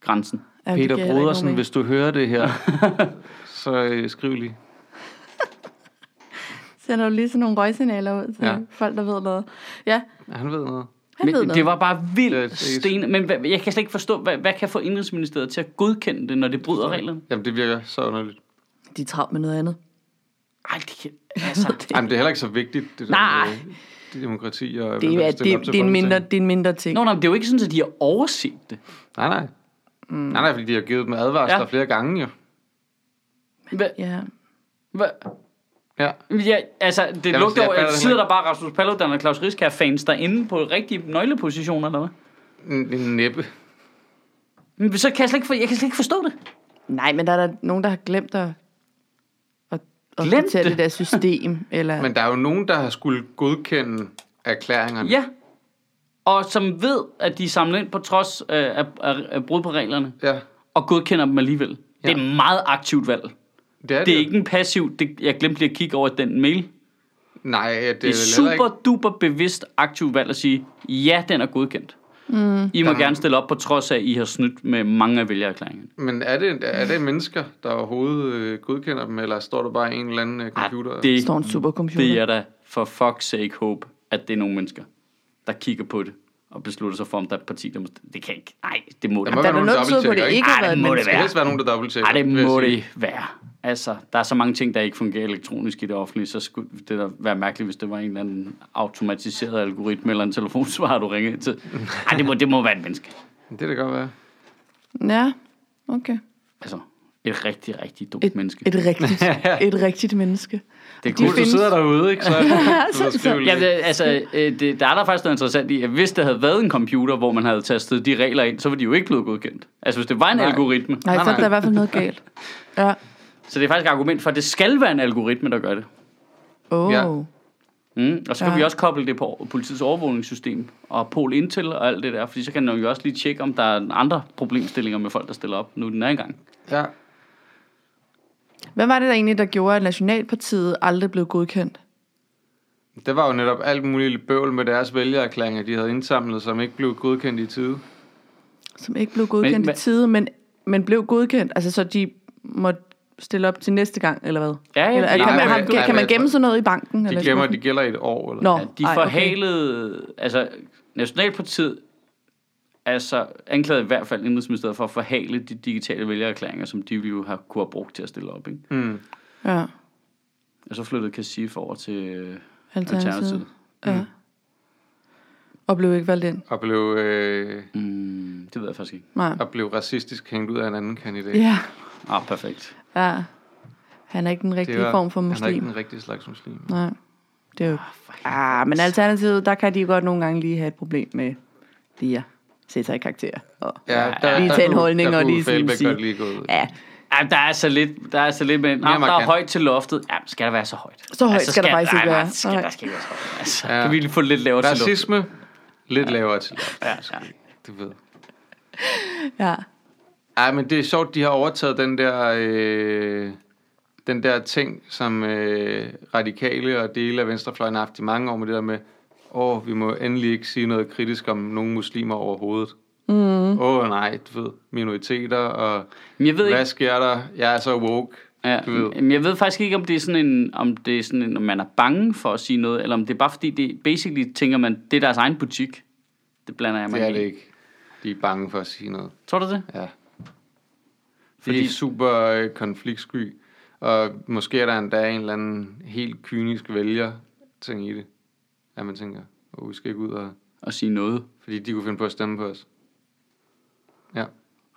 grænsen?
ja det giver heller
Peter
ikke
Brodersen,
nogen
hvis du hører det her, så øh, skriv lige.
mening. Sender du lige sådan nogle røgsignaler ud til
Ja.
ja. folk, der ved noget. Ja,
Han ved noget.
han ved
Men
noget.
det var bare
Det er-
vildt
det er-
sten. Men hvad, jeg kan slet ikke forstå, hvad, hvad kan få Indrigsministeriet til at godkende det, når det bryder reglerne?
Jamen, det virker så underligt.
De er travlt med noget andet.
Ej, det kan...
(laughs)
Altså, det,
Jamen, det er heller ikke så vigtigt, det der
Nej.
med, øh, det demokrati og... hvem
Det
der
er,
kan stille op
det,
til
det, er en mindre,
Folketinget.
det er en mindre ting.
Nå, nej, men det er jo ikke sådan, at de har overset det.
Nej, nej. Mm. Nej, nej, fordi de har givet dem advarsler
Ja.
ja. flere gange jo.
Hva,
Ja.
hva,
Ja.
Ja, altså, det Jamen,
Jamen,
lugter
jeg
over,
fatter
at
det
sidder
heller
der bare Rasmus Paludan og Claus Riskær fans derinde på rigtige nøglepositioner, eller hvad?
En, en næppe.
Men så kan jeg slet ikke, for, jeg kan slet ikke forstå det.
Nej, men der er der nogen, der har glemt at, at, at
Glemt
fortælle
det?
det der system. Eller,
Men der er jo nogen, der har skulle godkende erklæringerne.
Ja. Og som ved, at de er samlet ind på trods øh, af, af, af brud på reglerne,
ja.
og godkender dem alligevel. Ja. Det er et meget aktivt valg.
Det er,
Det er
jo.
ikke en passiv, det, jeg glemte lige at kigge over den mail. Det
Nej, ja, det,
er,
er
det er
vel heller
super
ikke...
ikke... duper bevidst aktivt valg at sige, ja, den er godkendt. Mm. I må gerne stille op på trods af, at I har snydt med mange af vælgererklæringerne.
Men er det, er det mennesker, der overhovedet øh, godkender dem, eller står der bare en eller anden øh,
Ej,
computer?
Ah, det
står en supercomputer.
Det er da for fuck's sake håb, at det er nogle mennesker, der kigger på det og beslutter sig for, om der er et parti, der må... Det kan ikke... Nej, det må det.
Der må
der er
være nogen,
vel noget,
der
der tyder på, at
dobbelttjekker,
det ikke
ikke?
har
Ej,
været
det må
Der
det
menneske.
skal
være.
helst være nogen, der dobbelttjekker.
Nej, det
vil jeg
må
sige.
det være. Altså, der er så mange ting, der ikke fungerer elektronisk i det offentlige, så skulle det da være mærkeligt, hvis det var en eller anden automatiseret algoritme eller en telefonsvarer, du ringede til. Nej, det må, det må være et menneske.
Det kan det godt være.
Ja, okay.
Altså, et rigtig, rigtig dumt
Et,
menneske.
et, rigtigt, et rigtigt menneske.
det
de
Hvis du
findes.
sidder derude, ikke, så
(laughs)
er det,
så-
så, så,
så-
Ja, det- altså, øh, det, der er der faktisk noget interessant i, at hvis det havde været en computer, hvor man havde tastet de regler ind, så var de jo ikke blevet godkendt. Altså, hvis det var en
Nej.
algoritme.
Nej,
Nej,
så er
nej.
der i hvert fald noget galt. Ja.
Så det er faktisk et argument for, at det skal være en algoritme, der gør det.
Oh.
Ja.
Ja.
Mm. Og så kan
Ja.
vi også koble det på politiets overvågningssystem og Pol Intel og alt det der, fordi så kan man jo også lige tjekke, om der er andre problemstillinger med folk, der stiller op, nu den er i gang.
ja.
Hvad var det der egentlig, der gjorde, at Nationalpartiet aldrig blev godkendt?
Det var jo netop alt muligt bøvl med deres vælgererklæringer, de havde indsamlet, som ikke blev godkendt i tide.
Som ikke blev godkendt men,
hvad-
i tide, men, men blev godkendt. Altså, så de måtte stille op til næste gang, eller hvad?
Ja, ja,
eller,
det-
kan,
nej,
man,
men-
har,
nej,
kan man
men-
gemme sådan noget i banken?
De
eller
gemmer,
skuffen?
de gælder i et år. Eller?
Nå,
Ja, de
ej, okay.
forhalede, altså Nationalpartiet altså anklagede i hvert fald Indrigsministeriet for at forhale de digitale vælgererklæringer, som de ville jo have, kunne have brugt til at stille op. Ikke?
Mm.
Ja,
Og så flyttede Kassif over til øh, Alternativet.
alternativet. Ja. Og blev ikke valgt ind.
Og blev, øh,
Mm, det ved jeg faktisk ikke.
Nej.
og blev racistisk hængt ud af en anden kandidat.
Ja,
Ah, perfekt.
ja. Han er ikke den rigtige
var-
form for
Han er
muslim.
ikke den rigtige slags muslim.
Nej, det er jo... Ah, men alternativet, der kan de godt nogle gange lige have et problem med lige at sætte sig i karakter. Og...
Ja, der,
lige tage en
kunne-
holdning,
der
og
kunne
lige sådan
Uffe Elbæk
sige-
godt lige gå ud.
Ja,
Ja, der er så lidt, der er så lidt med, nej, der er
markant.
højt til loftet. Ja, men skal der være så højt?
Så højt skal der faktisk ikke
nej, Nej,
være.
skal,
Nej.
der skal ikke være så højt. Altså,
Ja.
Kan vi lige få lidt lavere til loftet?
Racisme, lidt lavere til.
Ja, ja.
Du ved.
ja.
Ej, men det er sjovt, de har overtaget den der, øh, den der ting, som øh, radikale og dele af venstrefløjen har haft i mange år med det der med, åh, oh, vi må endelig ikke sige noget kritisk om nogen muslimer overhovedet. Åh mm. oh, nej, du ved, minoriteter og
Mm-hmm. Men jeg ved
hvad
ikke,
sker der? Jeg er så woke.
Ja,
Du ved.
men jeg ved faktisk ikke, om det er sådan en, om det er sådan en, om man er bange for at sige noget, eller om det er bare fordi, det basically tænker man, det er deres egen butik. Det blander jeg mig
Det er
ind
det
i.
ikke. De er bange for at sige noget.
Tror du det?
Ja. Fordi... De
Fordi-
er super øh, konfliktsky, og måske er der endda en eller anden helt kynisk vælger ting i det. At man tænker, åh, vi skal ikke ud og...
At sige noget.
Fordi de kunne finde på at stemme på os. Ja.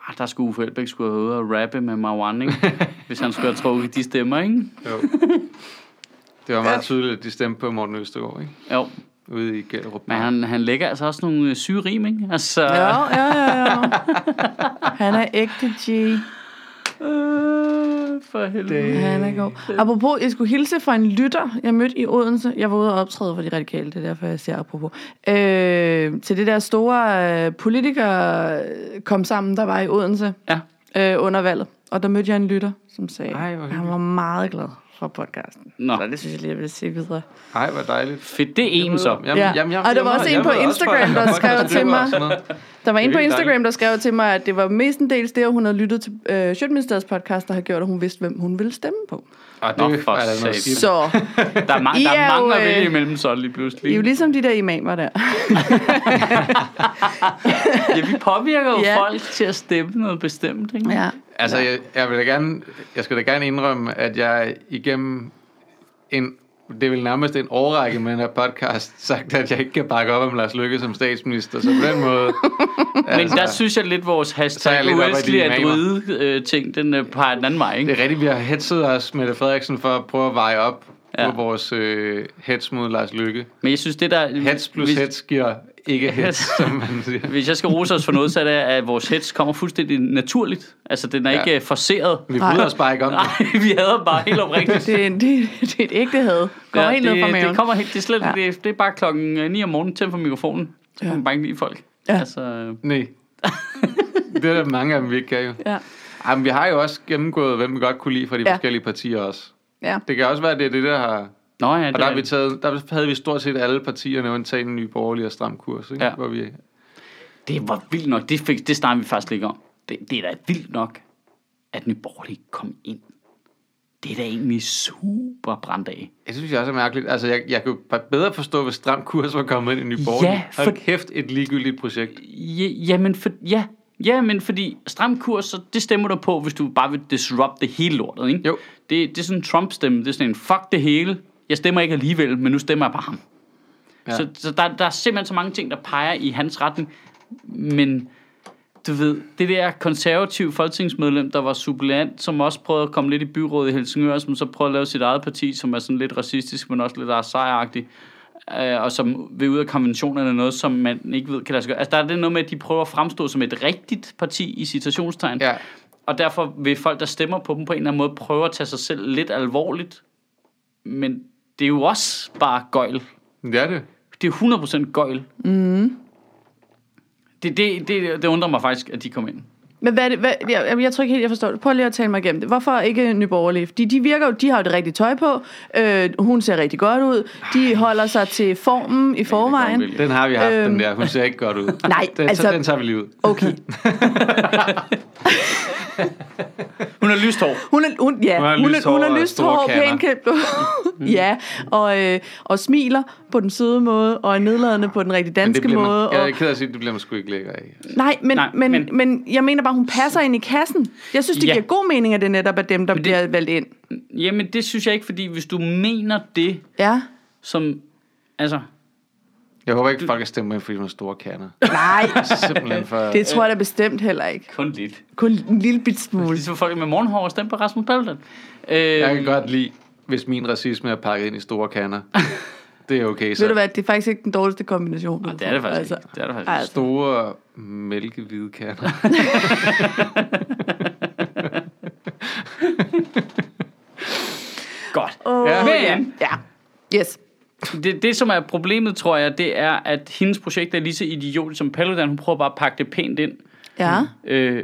Ah, der skulle Uffe Elbæk skulle have været ude og rappe med Marwan, ikke?
(laughs)
Hvis han skulle have trukket de stemmer, ikke?
Jo. (laughs) Det var meget tydeligt, at de stemte på Morten Østergaard, ikke?
Jo,
Ude i Gellerup.
men han, han lægger altså også nogle øh, syge rim, ikke? Altså,
Ja, ja, ja, ja. (laughs) Han er ægte G.
Øh, for helvede.
Han er god. Apropos, jeg skulle hilse fra en lytter, jeg mødte i Odense. Jeg var ude og optræde for de radikale, det er derfor, jeg siger apropos. Øh, til det der store øh, politiker øh, kom sammen, der var i Odense
Ja.
øh, under valget. Og der mødte jeg en lytter, som sagde,
Ej, hvor
at han var meget glad for podcasten.
Nå.
Så det synes jeg lige, jeg vil sige videre.
Ej, hvor dejligt.
Fedt, det er en så.
Jamen,
Ja. Og der var også en på
ved
Instagram,
fra-
der
fra
skrev til mig.
sådan noget.
Der var en
Det er
på
helt
Instagram, der skrev til mig, at det var mestendels det, at hun havde lyttet til øh, Sjøtministeriets podcast, der havde gjort, at hun vidste, hvem hun ville stemme på.
Og
Nå,
det
for
er da noget
satan.
skidt.
Så
Der er,
(laughs)
ma-
I
der er
er
mange
jo,
at
øh,
vælge imellem så lige pludselig.
I er jo ligesom de der imamer der.
Ja, vi påvirker jo
Ja.
folk til at stemme noget bestemt, ikke?
Ja.
Altså, jeg, jeg, vil da gerne, jeg skal da gerne indrømme, at jeg igennem en, det er vel nærmest en årrække med den her podcast, (laughs) sagt, at jeg ikke kan bakke op om Lars Lykke som statsminister, så på den måde...
(laughs)
altså,
Men der synes jeg lidt, vores
er jeg
hashtag
lidt oppe i
uelskelig
dine
at
imamer.
rydde øh, ting, den øh, peger den anden vej,
Det
ikke?
er rigtigt, vi har hetset os, Mette Frederiksen, for at prøve at veje op
Ja.
ja. på vores øh, hets mod Lars Lykke.
Men jeg synes, det der...
Hets plus
hvis,
hets giver ikke hets, som man siger.
Hvis jeg skal rose os for noget, så er det, at vores hets kommer fuldstændig naturligt. Altså, den er
Ja.
ikke øh, forceret.
Vi
Nej.
bryder os bare ikke om det.
Nej, vi hader bare helt
(laughs)
oprigtigt.
Det, er en- det, det er et ægte had. Kommer ja, helt ned fra
det,
maven.
det kommer helt, det er, slet, ja.
Ja.
det, det er bare klokken øh, 9 om morgenen, tænd for mikrofonen. Så kan man bare ikke lide folk.
Ja.
Altså, øh, (laughs)
Nej. Det er der mange af dem, vi ikke kan jo.
Ja.
Ej, men vi har jo også gennemgået, hvem vi godt kunne lide fra de
Ja.
ja. forskellige partier også.
ja.
Det kan også være, at det er det, der har
nå ja, det
Og der, har
er-
vi taget, der havde vi stort set alle partierne undtagen Nye Borgerlige og Stram Kurs, ikke?
Ja.
Ja. hvor vi
Det var vildt nok. Det, fik, det snakker vi faktisk ikke om. Det, det er da vildt nok, at Nye Borgerlige kom ind. Det er da egentlig super brændt af.
jeg synes jeg også er mærkeligt. Altså, jeg, jeg kunne bare bedre forstå, hvis Stram Kurs var kommet ind i Nye Borgerlige.
Ja, for-
Hold kæft, et ligegyldigt projekt.
Ja, jamen, for, ja, ja, men fordi stram kurs, så det stemmer du på, hvis du bare vil disrupte hele lortet, ikke?
Jo.
Det, det er sådan en Trump-stemme. Det er sådan en, fuck det hele. Jeg stemmer ikke alligevel, men nu stemmer jeg på ham. Ja.
Ja.
Så, så der, der er simpelthen så mange ting, der peger i hans retning. Men du ved, det der konservative folketingsmedlem, der var suppleant, som også prøvede at komme lidt i byrådet i Helsingør, som så prøvede at lave sit eget parti, som er sådan lidt racistisk, men også lidt Lars sejragtigt, øh, og som vil ud af konventionerne noget, som man ikke ved kan lade sig gøre. Altså, der er det noget med, at de prøver at fremstå som et rigtigt parti i citationstegn.
Ja.
Og derfor vil folk, der stemmer på dem på en eller anden måde, prøve at tage sig selv lidt alvorligt. Men det er jo også bare gøjl.
Det er det.
Det er 100% gøjl. Mm. Det, det, det, det undrer mig faktisk, at de kom ind.
Men hvad, er det- hvad, jeg, jeg, jeg tror ikke helt, jeg forstår det. Prøv lige at tale mig igennem det. Hvorfor ikke Nye Borgerlige? Fordi de virker jo, de har jo det rigtige tøj på. Øh, hun ser rigtig godt ud. De holder sig til formen i forvejen.
Det
Den har vi haft, øhm.
Øhm.
den der. Hun ser ikke godt ud.
Nej,
den, altså...
altså-
den tager vi lige ud.
Okay.
Hun har lyst hår.
Hun er, hun, ja,
Hun har
hun,
lyst
er, hun
hår og
er lyst
store
hår,
kander.
pænt kæmpe. (laughs) ja, og, øh, og smiler på den søde måde, og er nedladende på den rigtig
Men det
danske
bliver
måde.
man, jeg
og,
er ked af at sige, det bliver man sgu ikke lækker af.
Nej, men,
Nej,
Nej men,
men-
men, men jeg mener bare, hun passer ind i kassen. Jeg synes, det
Ja.
ja. giver god mening, at det netop er dem, der det... bliver valgt ind.
Jamen, det synes jeg ikke, fordi hvis du mener det,
Ja.
som... Altså,
Jeg håber ikke, folk er stemmer ind, fordi hun har store kerner.
Nej,
(laughs) Simpelthen for...
det tror jeg da bestemt heller ikke.
kun lidt.
Kun en lille bit smule.
Ligesom folk med morgenhår og stemme på Rasmus Paludan. Øh,
Jeg kan godt lide, hvis min racisme er pakket ind i store kerner. Det er okay, så.
Ved du hvad, det er faktisk ikke den dårligste kombination.
det er det faktisk ikke. Det er det faktisk ikke.
altså,
Store mælkehvide
(laughs)
kerner.
godt.
åh,
Ja.
ja.
Men-
ja. Yes.
Det, det, som er problemet, tror jeg, det er, at hendes projekt er lige så idiotisk som Paludan. Hun prøver bare at pakke det pænt ind.
Ja.
Øh,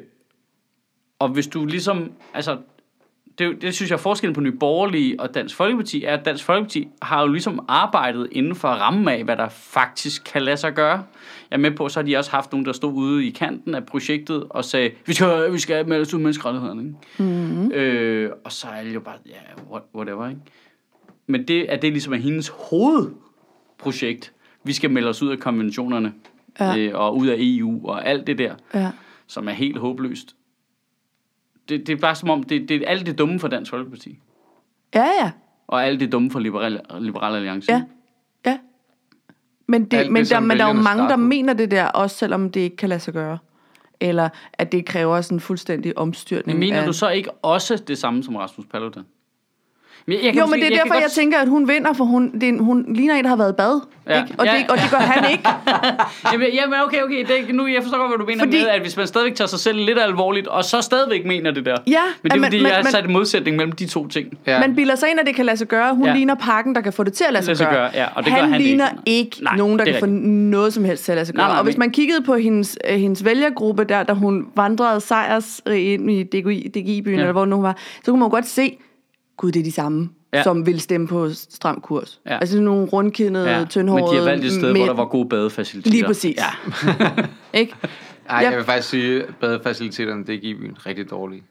og hvis du ligesom, altså, det, er jo- det synes jeg er forskellen på Nye Borgerlige og Dansk Folkeparti, er, at Dansk Folkeparti har jo ligesom arbejdet inden for rammen af, hvad der faktisk kan lade sig gøre. Jeg er med på, så har de også haft nogen, der stod ude i kanten af projektet og sagde, vi skal, vi skal melde os ud af menneskerettighederne. Ikke? Mm-hmm. Øh, og så er det jo bare, ja, yeah, whatever. Ikke? Men det, at det ligesom er hendes hovedprojekt, vi skal melde os ud af konventionerne
Ja.
ja. øh, og ud af EU og alt det der
Ja.
som er helt håbløst. Det, det er bare som om, det, det er alt det dumme for Dansk Folkeparti,
Ja, ja.
og alt det dumme for Liberal, Liberal Alliance.
Ja. Ja. Men, det,
Alt det,
men, der,
som
men der er jo
vælgerne
mange, der
startede.
mener det der, også selvom det ikke kan lade sig gøre. Eller at det kræver sådan en fuldstændig omstyrtning.
Men mener
af...
du så ikke også det samme som Rasmus Paludan? Men jeg, jeg
Jo, men det er derfor, jeg,
kan
jeg tænker, at hun vinder, for hun, det er en, hun ligner en, der har været i bad.
Ja.
Ikke? Og,
Ja.
det, og det gør han
(laughs)
ikke.
(laughs) Jamen, jamen okay, okay. Det, er ikke- nu, jeg forstår godt, hvad du mener
Fordi-
Fordi... med, at hvis man stadigvæk tager sig selv lidt alvorligt, og så stadigvæk mener det der.
Ja,
men det er
men-
jo, fordi
men-
jeg har
men-
sat en modsætning mellem de to ting.
Ja.
Man bilder sig ind, at det kan lade sig gøre. Hun ja.
Ja.
ligner pakken, der kan få det til at lade sig,
Lade sig
gøre.
gøre, ja, og det
han
gør han
ligner
ikke.
ikke,
Nej,
nogen, der
det
kan
er
få noget som helst til at lade sig gøre.
Nej, nej,
og hvis
men-
man kiggede på hendes, øh, hendes vælgergruppe der, da hun vandrede sejrs øh, ind i DGI, DGI-byen, ja.
Ja.
eller hvor nu hun var, så kunne man jo godt se, gud, det er de samme, ja.
Ja.
som vil stemme på stram kurs. Ja.
Ja.
Altså sådan nogle rundkindede, ja. tyndhårede...
men de har valgt et sted, hvor
mænd.
der var gode badefaciliteter.
Lige præcis.
Ja.
Ja. (laughs) ikke?
Ej,
Ja.
jeg vil faktisk sige, at badefaciliteterne, det er i byen rigtig dårlige.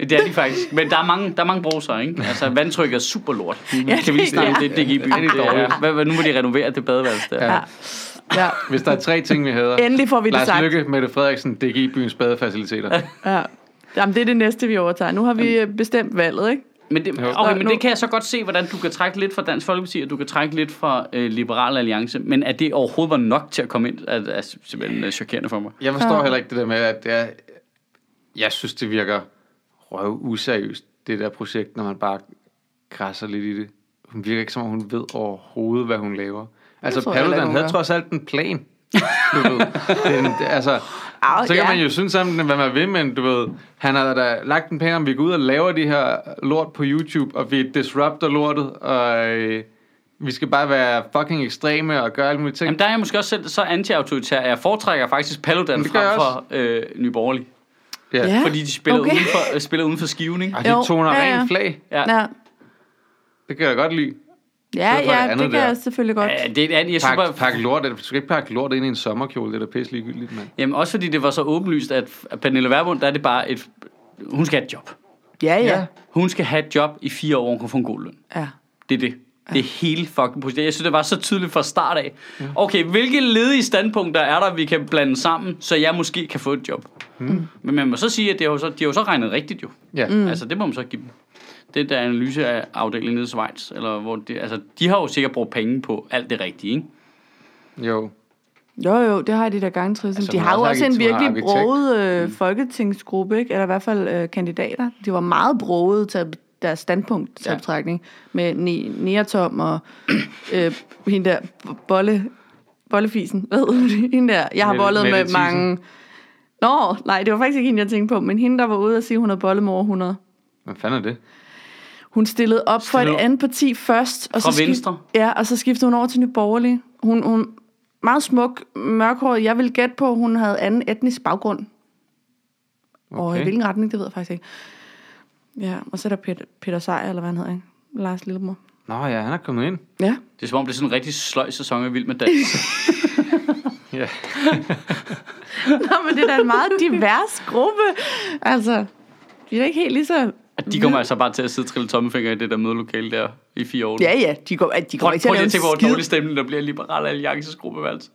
Det er de faktisk. Men der er mange, der er mange brusere, ikke? Altså, vandtryk er super lort. Ja, kan vi lige snakke om det? Det gik i byen.
Det er dårligt.
Hvad, hvad, nu må de renovere det badeværelse der.
Ja.
(laughs) Ja.
Ja.
Hvis der er tre ting, vi hader.
Endelig får vi det
Lars
sagt.
Lykke, Mette Frederiksen, DGI byens badefaciliteter.
Ja. Jamen, det er det næste, vi overtager. Nu har vi øh, bestemt valget, ikke?
Men, det,
Jo.
okay, men
Nu-
det kan jeg så godt se, hvordan du kan trække lidt fra Dansk Folkeparti, og du kan trække lidt fra øh, Liberal Alliance. Men at det overhovedet var nok til at komme ind, er, er simpelthen øh, chokerende for mig.
Jeg forstår
Ja.
heller ikke det der med, at jeg, jeg synes, det virker røv useriøst, det der projekt, når man bare krasser lidt i det. Hun virker ikke, som om hun ved overhovedet, hvad hun laver. Altså,
tror jeg heller ikke,
Paludan
hun
havde
gør.
trods alt en plan. Du ved. Den, altså,
Au,
så kan
ja.
man jo synes sammen, hvad man vil, men du ved, han har da lagt en plan om, vi går ud og laver de her lort på YouTube, og vi disrupter lortet, og øh, vi skal bare være fucking ekstreme og gøre alle mulige ting.
Jamen, der er jeg måske også selv så anti-autoritær, at jeg foretrækker faktisk Paludan
Det gør jeg
frem for øh, Nye Borgerlige.
Ja.
Fordi de spiller,
okay.
okay. uden, for, øh, spiller uden for skivning.
Og
Jo,
de toner
ja,
ja, ja.
ja.
ren flag.
Ja.
Ja,
Det kan jeg da godt lide.
ja,
stedet for det
ja det,
andet
kan
der.
jeg selvfølgelig godt.
Ja, det er, jeg synes bare,
Pak, pak lort, du skal ikke pakke lort ind i en sommerkjole, det er da pisse ligegyldigt, mand.
Jamen også fordi det var så åbenlyst, at at Pernille Vermund, der er det bare et... Hun skal have et job.
Ja, ja.
Ja.
Hun skal have et job i fire år, hun kan få en god løn.
ja.
Det er det. Det er hele fucking projektet. Jeg synes, det var så tydeligt fra start af. Okay, hvilke ledige standpunkter er der, vi kan blande sammen, så jeg måske kan få et job? Mm. Men man må så sige, at det er jo så, de har jo så regnet rigtigt jo.
Ja.
Mm. Altså, det må man så give dem. Det der analyse af afdelingen nede i Schweiz, eller hvor det, altså, de har jo sikkert brugt penge på alt det rigtige, ikke?
Jo.
Jo, jo, det har de der gangtrisen. Altså,
Altså,
de
hun
har
er
jo
også
også en
arkitekt, hun er
virkelig
arkitekt. Mm.
broget øh, folketingsgruppe, ikke? eller i hvert fald øh, kandidater. De var meget broget til deres standpunkt til
Ja.
betragtning med ne- Neatom og (clears throat) øh, hende der b- bolle, bollefisen. (laughs) Hvad hedder det? Hende der. Jeg har
Mette-
bollet
Mette
med
Thiesen.
mange... Nå, nej, det var faktisk ikke hende, jeg tænkte på, men hende, der var ude og sige, at hun havde bollet med over 100.
Hvad fanden er det?
Hun stillede op for
Stillede
et
op.
andet parti først. Og
Fra
så skif-
Venstre?
Ja, og så skiftede hun over til Nye Borgerlige. Hun, hun meget smuk, mørkhåret. Jeg vil gætte på, at hun havde anden etnisk baggrund. Okay. Og i
Okay.
hvilken retning, det ved jeg faktisk ikke. Ja, og så er der Peter, Peter Seier, eller hvad han hedder, ikke? Lars Lillemor.
Nå ja, han er kommet ind.
Ja.
Det er som om, det er sådan en rigtig sløj sæson af Vild med Dans.
Ja.
Nå, men det er da en meget divers gruppe. Altså, de er da ikke helt lige så...
At de kommer altså bare til at sidde og trille tommelfinger i det der mødelokale der i fire år. nu.
Ja, ja, de går, de går
Prøv,
ikke til at
prøv lige
lave
at
en
tænke, hvor
skid.
dårlig stemning der bliver i Liberal Alliances gruppeværelse.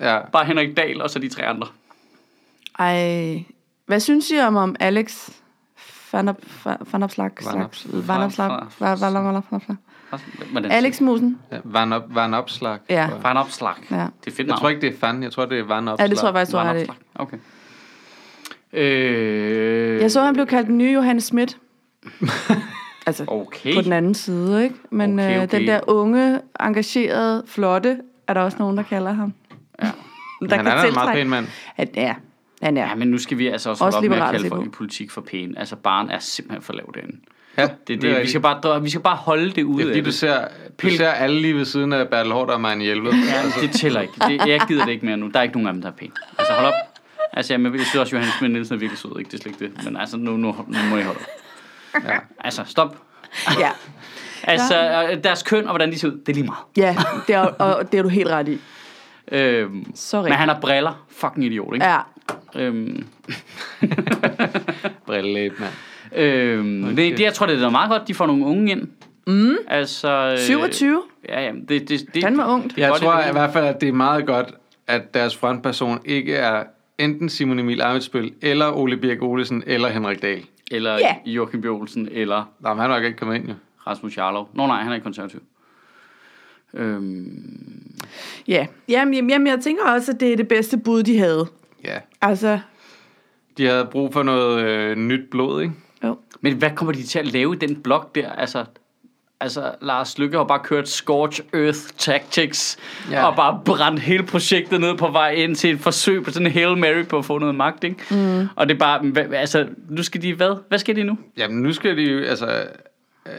Ja.
Bare Henrik Dahl og så de tre andre.
Ej, hvad synes I om, om Alex Vanopslag?
Varnaps-
Vanopslag?
Fra-
Vanopslag?
Hvordan
Alex Musen?
ja. Van, op, van opslag.
Ja.
tror jeg.
Van Opslag.
Ja.
Det er fedt
Jeg
navn.
tror ikke, det er fan. Jeg tror, det er van opslag.
Ja, det tror jeg faktisk, du har
Van
det.
Opslag. Okay. Øh,
Jeg så, han blev kaldt den nye Johannes Schmidt. altså,
Okay.
på den anden side, ikke? Men
Okay,
okay, okay.
okay.
den der unge, engagerede, flotte, er der også nogen, der kalder ham. (laughs)
Ja.
Der
Han er da en meget pæn mand.
At, ja, han er.
ja, men nu skal vi altså også,
Også
også holde op med at
liberale
kalde
ser
folk
på.
i politik for pæne. Altså, barn er simpelthen for lav derinde.
Ja,
Det er det. vi,
rigtigt.
skal bare, vi skal bare holde det ude
det er fordi,
af
du
det.
ser, du
Pil-
ser alle lige ved siden af Bertel Hård og Marianne Altså, Hjelved.
Ja, det tæller ikke. Det, jeg gider det ikke mere nu. Der er ikke nogen af dem, der er pæne. Altså, hold op. Altså, jeg, jeg synes også, Johannes Schmidt Nielsen er virkelig sød. Ikke? Det er slet ikke det. Men altså, nu, nu, nu må jeg holde op. Ja. Altså, stop.
Ja,
Altså, øh, deres køn og hvordan de ser ud, det er lige meget.
ja det er, og det er du helt ret i.
Øhm,
Så
men
rigtigt.
han har briller. Fucking idiot, ikke?
Ja,
Øhm, (laughs)
Brillelæb, mand.
øhm, okay. det, det, jeg tror, det er meget godt, de får nogle unge ind. Mm. Altså, øh,
27.
Ja, ja. Det, det, det,
Han var ungt.
er
Jeg
godt,
tror
det-
i hvert fald, at det er meget godt, at deres frontperson ikke er enten Simon Emil Amitsbøl, eller Ole Birk Olesen, eller Henrik Dahl.
Eller
Ja.
yeah. Joachim B. Olsen, eller
Nå, men han er nok ikke kommet ind, jo.
Rasmus Jarlov. Nå nej, han er ikke konservativ. Øhm,
Ja, jamen, jamen, jamen, jeg tænker også, at det er det bedste bud, de havde.
Ja.
Altså,
De havde brug for noget øh, nyt blod, ikke?
jo.
men hvad kommer de til at lave i den blog der? Altså, altså Lars Lykke har bare kørt Scorch Earth Tactics,
Ja.
ja. og bare brændt hele projektet ned på vej ind til et forsøg på sådan en Hail Mary på at få noget magt, ikke? Mm. Og det er bare, hva, altså, nu skal de hvad? Hvad skal de nu?
Jamen, nu skal de jo, altså... Øh,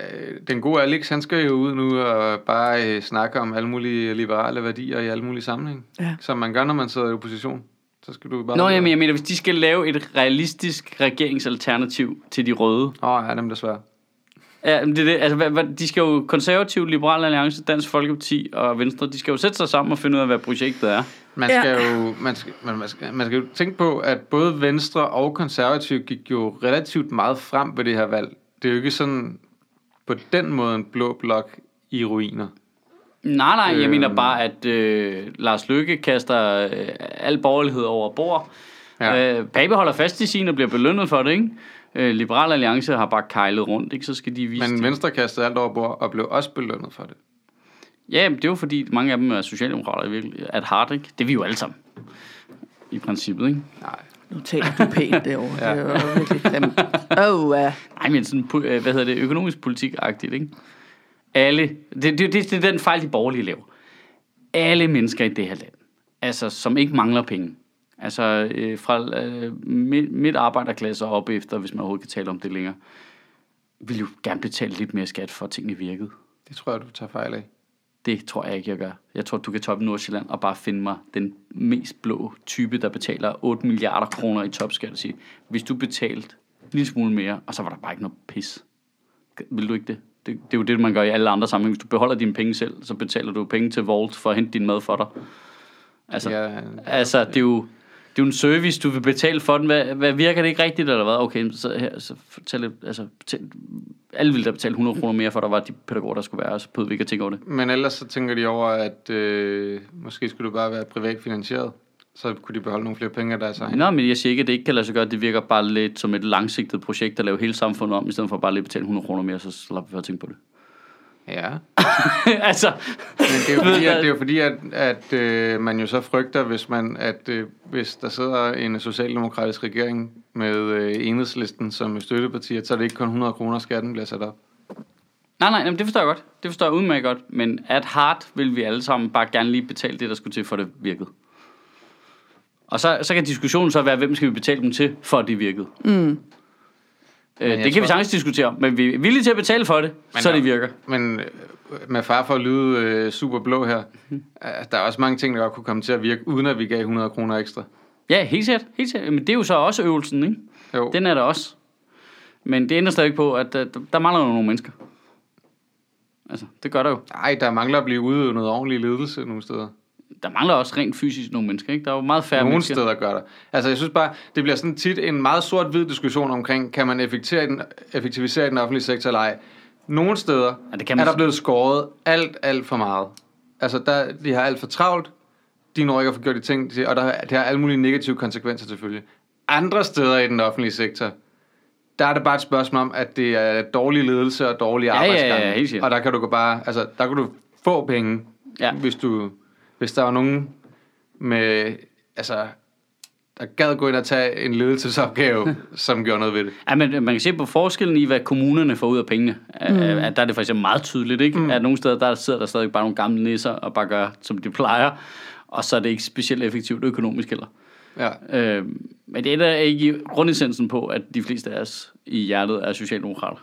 den gode Alex, han skal jo ud nu og bare øh, snakke om alle mulige liberale værdier i alle mulige sammenhæng.
Ja.
Som man gør, når man sidder i opposition. Så skal du bare...
Nå, jamen, jeg mener, hvis de skal lave et realistisk regeringsalternativ til de røde,
Åh, oh, ja, dem desværre.
Ja, men det er det. Altså, hvad, hvad, de skal jo konservativ, liberal alliance, Dansk Folkeparti og Venstre, de skal jo sætte sig sammen og finde ud af, hvad projektet er.
Man
Ja.
skal, ja. jo, man, skal, man, man, skal, man skal jo tænke på, at både Venstre og Konservative gik jo relativt meget frem ved det her valg. Det er jo ikke sådan på den måde en blå blok i ruiner.
Nej, nej, jeg
Øhm.
mener bare, at øh, Lars Løkke kaster øh, al borgerlighed over bord.
Ja.
Ja. Øh, Pape holder fast i sin og bliver belønnet for det, ikke? Øh, liberal alliance har bare kejlet rundt, ikke? Så skal de vise
Men
det.
Venstre kastede alt over bord og blev også belønnet for det.
Ja, men det er jo fordi, mange af dem er socialdemokrater i virkelig, at heart, ikke? Det er vi jo alle sammen. I princippet, ikke?
Nej.
Nu taler du
(laughs)
pænt derovre. ja. Det var virkelig grimt. Åh, oh, uh.
Nej, men sådan, po- øh, hvad hedder det, økonomisk politik-agtigt, ikke? Alle, det, det, det, det er den fejl, de borgerlige laver. Alle mennesker i det her land, altså, som ikke mangler penge, altså øh, fra øh, midt, midt arbejderklasse og op efter, hvis man overhovedet kan tale om det længere, vil jo gerne betale lidt mere skat for, at tingene virkede.
Det tror jeg, du tager fejl af.
Det tror jeg ikke, jeg gør. Jeg tror, du kan toppe Nordsjælland og bare finde mig den mest blå type, der betaler 8 milliarder kroner i topskat og sige, hvis du betalte en lille smule mere, og så var der bare ikke noget pis. Vil du ikke det? det? Det, er jo det, man gør i alle andre sammenhænge. Hvis du beholder dine penge selv, så betaler du penge til Volt for at hente din mad for dig. Altså, ja.
Jeg,
altså det, er jo, det er jo en service, du vil betale for den. Hvad, hvad virker det ikke rigtigt, eller hvad? Okay, så, her, så fortæl, lidt, altså, fortæl, alle ville da betale 100 kroner mere for, at der var de pædagoger, der skulle være, og så behøvede vi ikke at tænke over det.
men ellers så tænker de over, at øh, måske skulle du bare være privat finansieret. Så kunne de beholde nogle flere penge af deres egen.
Nå, men jeg siger ikke, at det ikke kan lade sig gøre. Det virker bare lidt som et langsigtet projekt at lave hele samfundet om, i stedet for bare lige at betale 100 kroner mere, så slap vi for at tænke på det. (laughs)
Ja.
altså,
Men det er jo
(laughs) Ved
fordi, at,
jeg-
det er jo fordi, at, at øh, man jo så frygter, hvis, man, at, øh, hvis der sidder en socialdemokratisk regering med øh, enhedslisten som støtteparti, at så er det ikke kun 100 kroner, skatten bliver sat op.
nej, nej, jamen, det forstår jeg godt. Det forstår jeg udmærket godt. Men at heart vil vi alle sammen bare gerne lige betale det, der skulle til, for det virkede. Og så, så kan diskussionen så være, hvem skal vi betale dem til, for at det virkede. Mm. Øh,
jeg
det kan
tror-
vi sagtens diskutere, om, men vi er villige til at betale for det, men så
der-
det virker.
Men øh, med far for at lyde øh, super blå her,
Mhm.
øh, der er også mange ting, der godt kunne komme til at virke, uden at vi gav 100 kroner ekstra.
Ja, helt sikkert. Helt sikkert. Men det er jo så også øvelsen, ikke?
Jo,
Den er der også. Men det ændrer stadig på, at øh, der, der mangler jo nogle mennesker. Altså, det gør der jo.
nej, der mangler at blive udøvet noget ordentlig ledelse nogle steder.
Der mangler også rent fysisk nogle mennesker, ikke? Der er jo meget færre
Nogle
mennesker.
steder gør der. Altså, jeg synes bare, det bliver sådan tit en meget sort-hvid diskussion omkring, kan man effektivisere i den, effektivisere i den offentlige sektor eller ej. Nogle steder
Ja, det
kan man...
kan man
er der
s-
blevet skåret alt, alt for meget. Altså, der, de har alt for travlt, de når ikke at få gjort de ting, de- og der, det har alle mulige negative konsekvenser selvfølgelig. Andre steder i den offentlige sektor, der er det bare et spørgsmål om, at det er dårlig ledelse og dårlige
ja, ja,
arbejdsgange.
helt sikkert.
og der kan du gå bare, altså, der kan du få penge, ja.
Ja.
hvis, du, hvis der var nogen med, altså, der gad gå ind og tage en
(laughs)
ledelsesopgave, som gjorde noget ved det.
Ja, men man kan se på forskellen i, hvad kommunerne får ud af pengene. Mm. At der er det for eksempel meget tydeligt, ikke? Mm. At nogle steder, der sidder der stadig bare nogle gamle nisser og bare gør, som de plejer. Og så er det ikke specielt effektivt økonomisk heller.
Ja.
Øh, men det er der ikke i grundessensen på, at de fleste af os i hjertet er socialdemokrater.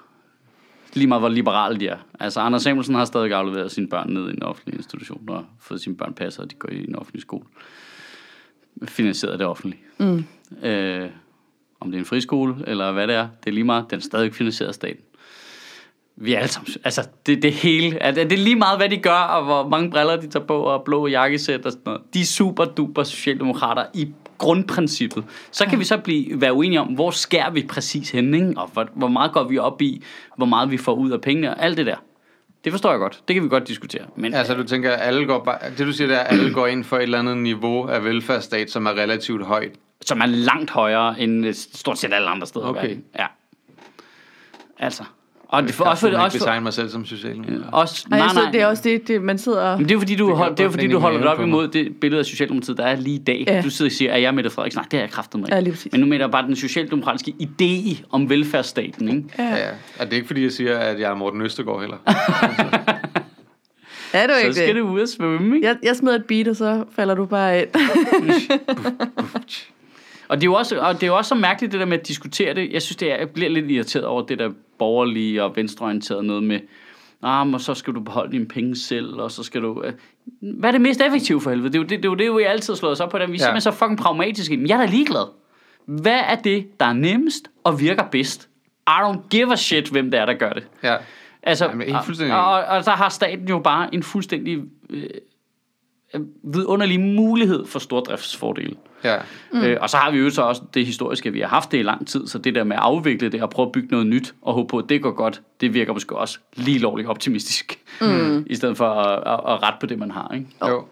Lige meget hvor liberale de er. Altså, Anders Samuelsen har stadig afleveret sine børn ned i en offentlig institution og fået sine børn passet, og de går i en offentlig skole. Finansieret af det offentlige. Mm. Øh, om det er en friskole, eller hvad det er, det er lige meget. Den er stadig finansieret af staten. Vi er alle sammen, altså det, det hele, altså, det er lige meget, hvad de gør, og hvor mange briller de tager på, og blå jakkesæt og sådan noget. De er super duper socialdemokrater i grundprincippet. Så kan vi så blive, være uenige om, hvor skærer vi præcis henne, ikke? og hvor, hvor meget går vi op i, hvor meget vi får ud af pengene, og alt det der. Det forstår jeg godt. Det kan vi godt diskutere. Men
Altså, du tænker, at alle går bare, det du siger, det er, at alle går ind for et eller andet niveau af velfærdsstat, som er relativt højt.
som er langt højere end øh, stort set alle andre steder. i
Okay.
verden. Ja. Altså. Og det, for,
Jeg
også, for,
kan ikke
også, for,
betegne mig selv som socialdemokrat.
også,
Nej,
nej,
Så
nej.
det er også det, det man sidder og...
Men det er jo fordi, du,
kan
hold,
jeg
det er jo,
godt
fordi,
mærke
du
i
holder det op
maven på
imod det billede af Socialdemokratiet, der er lige i dag.
Ja.
Du sidder og siger, at jeg er Mette Frederiksen. Nej, det er jeg kraftet mig.
Ja, lige præcis.
Men nu mener jeg bare den socialdemokratiske idé om velfærdsstaten. Ikke?
Ja, ja. Og det er ikke, fordi jeg siger, at jeg er Morten Østergaard heller.
(laughs)
Er du
Så
ikke
skal
det?
det ud og svømme. Ikke?
Jeg, jeg smider et beat, og så falder du bare ind. (laughs)
Og, det er jo også, og det er jo også så mærkeligt, det der med at diskutere det. Jeg synes, det er, jeg bliver lidt irriteret over det der borgerlige og venstreorienterede noget med, ah, men så skal du beholde dine penge selv, og så skal du... øh." Hvad er det mest effektive for helvede? Det er jo det, det, er jo det vi altid har slået os op på. Den. Vi er
Ja.
simpelthen så fucking pragmatiske. Men jeg er da ligeglad. Hvad er det, der er nemmest og virker bedst? I don't give a shit, hvem det er, der gør det.
ja.
Altså,
Jamen, jeg er helt fuldstændig
og, og, og der har staten jo bare en fuldstændig øh, øh, vidunderlig mulighed for stordriftsfordele.
ja.
Mm. Øh, og så har vi jo så også det historiske, at vi har haft det i lang tid, så det der med at afvikle det og prøve at bygge noget nyt og håbe på, at det går godt, det virker måske også lige lovligt optimistisk, mm. (laughs) i stedet for at, at, at rette på det, man har. Ikke?
Jo.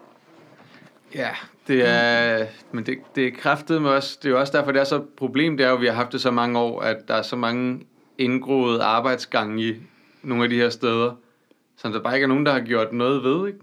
Ja, det er, men det, det er kraftet med os. Det er jo også derfor, det er så et problem, det er jo, at vi har haft det så mange år, at der er så mange indgroede arbejdsgange i nogle af de her steder, som der bare ikke er nogen, der har gjort noget ved, ikke?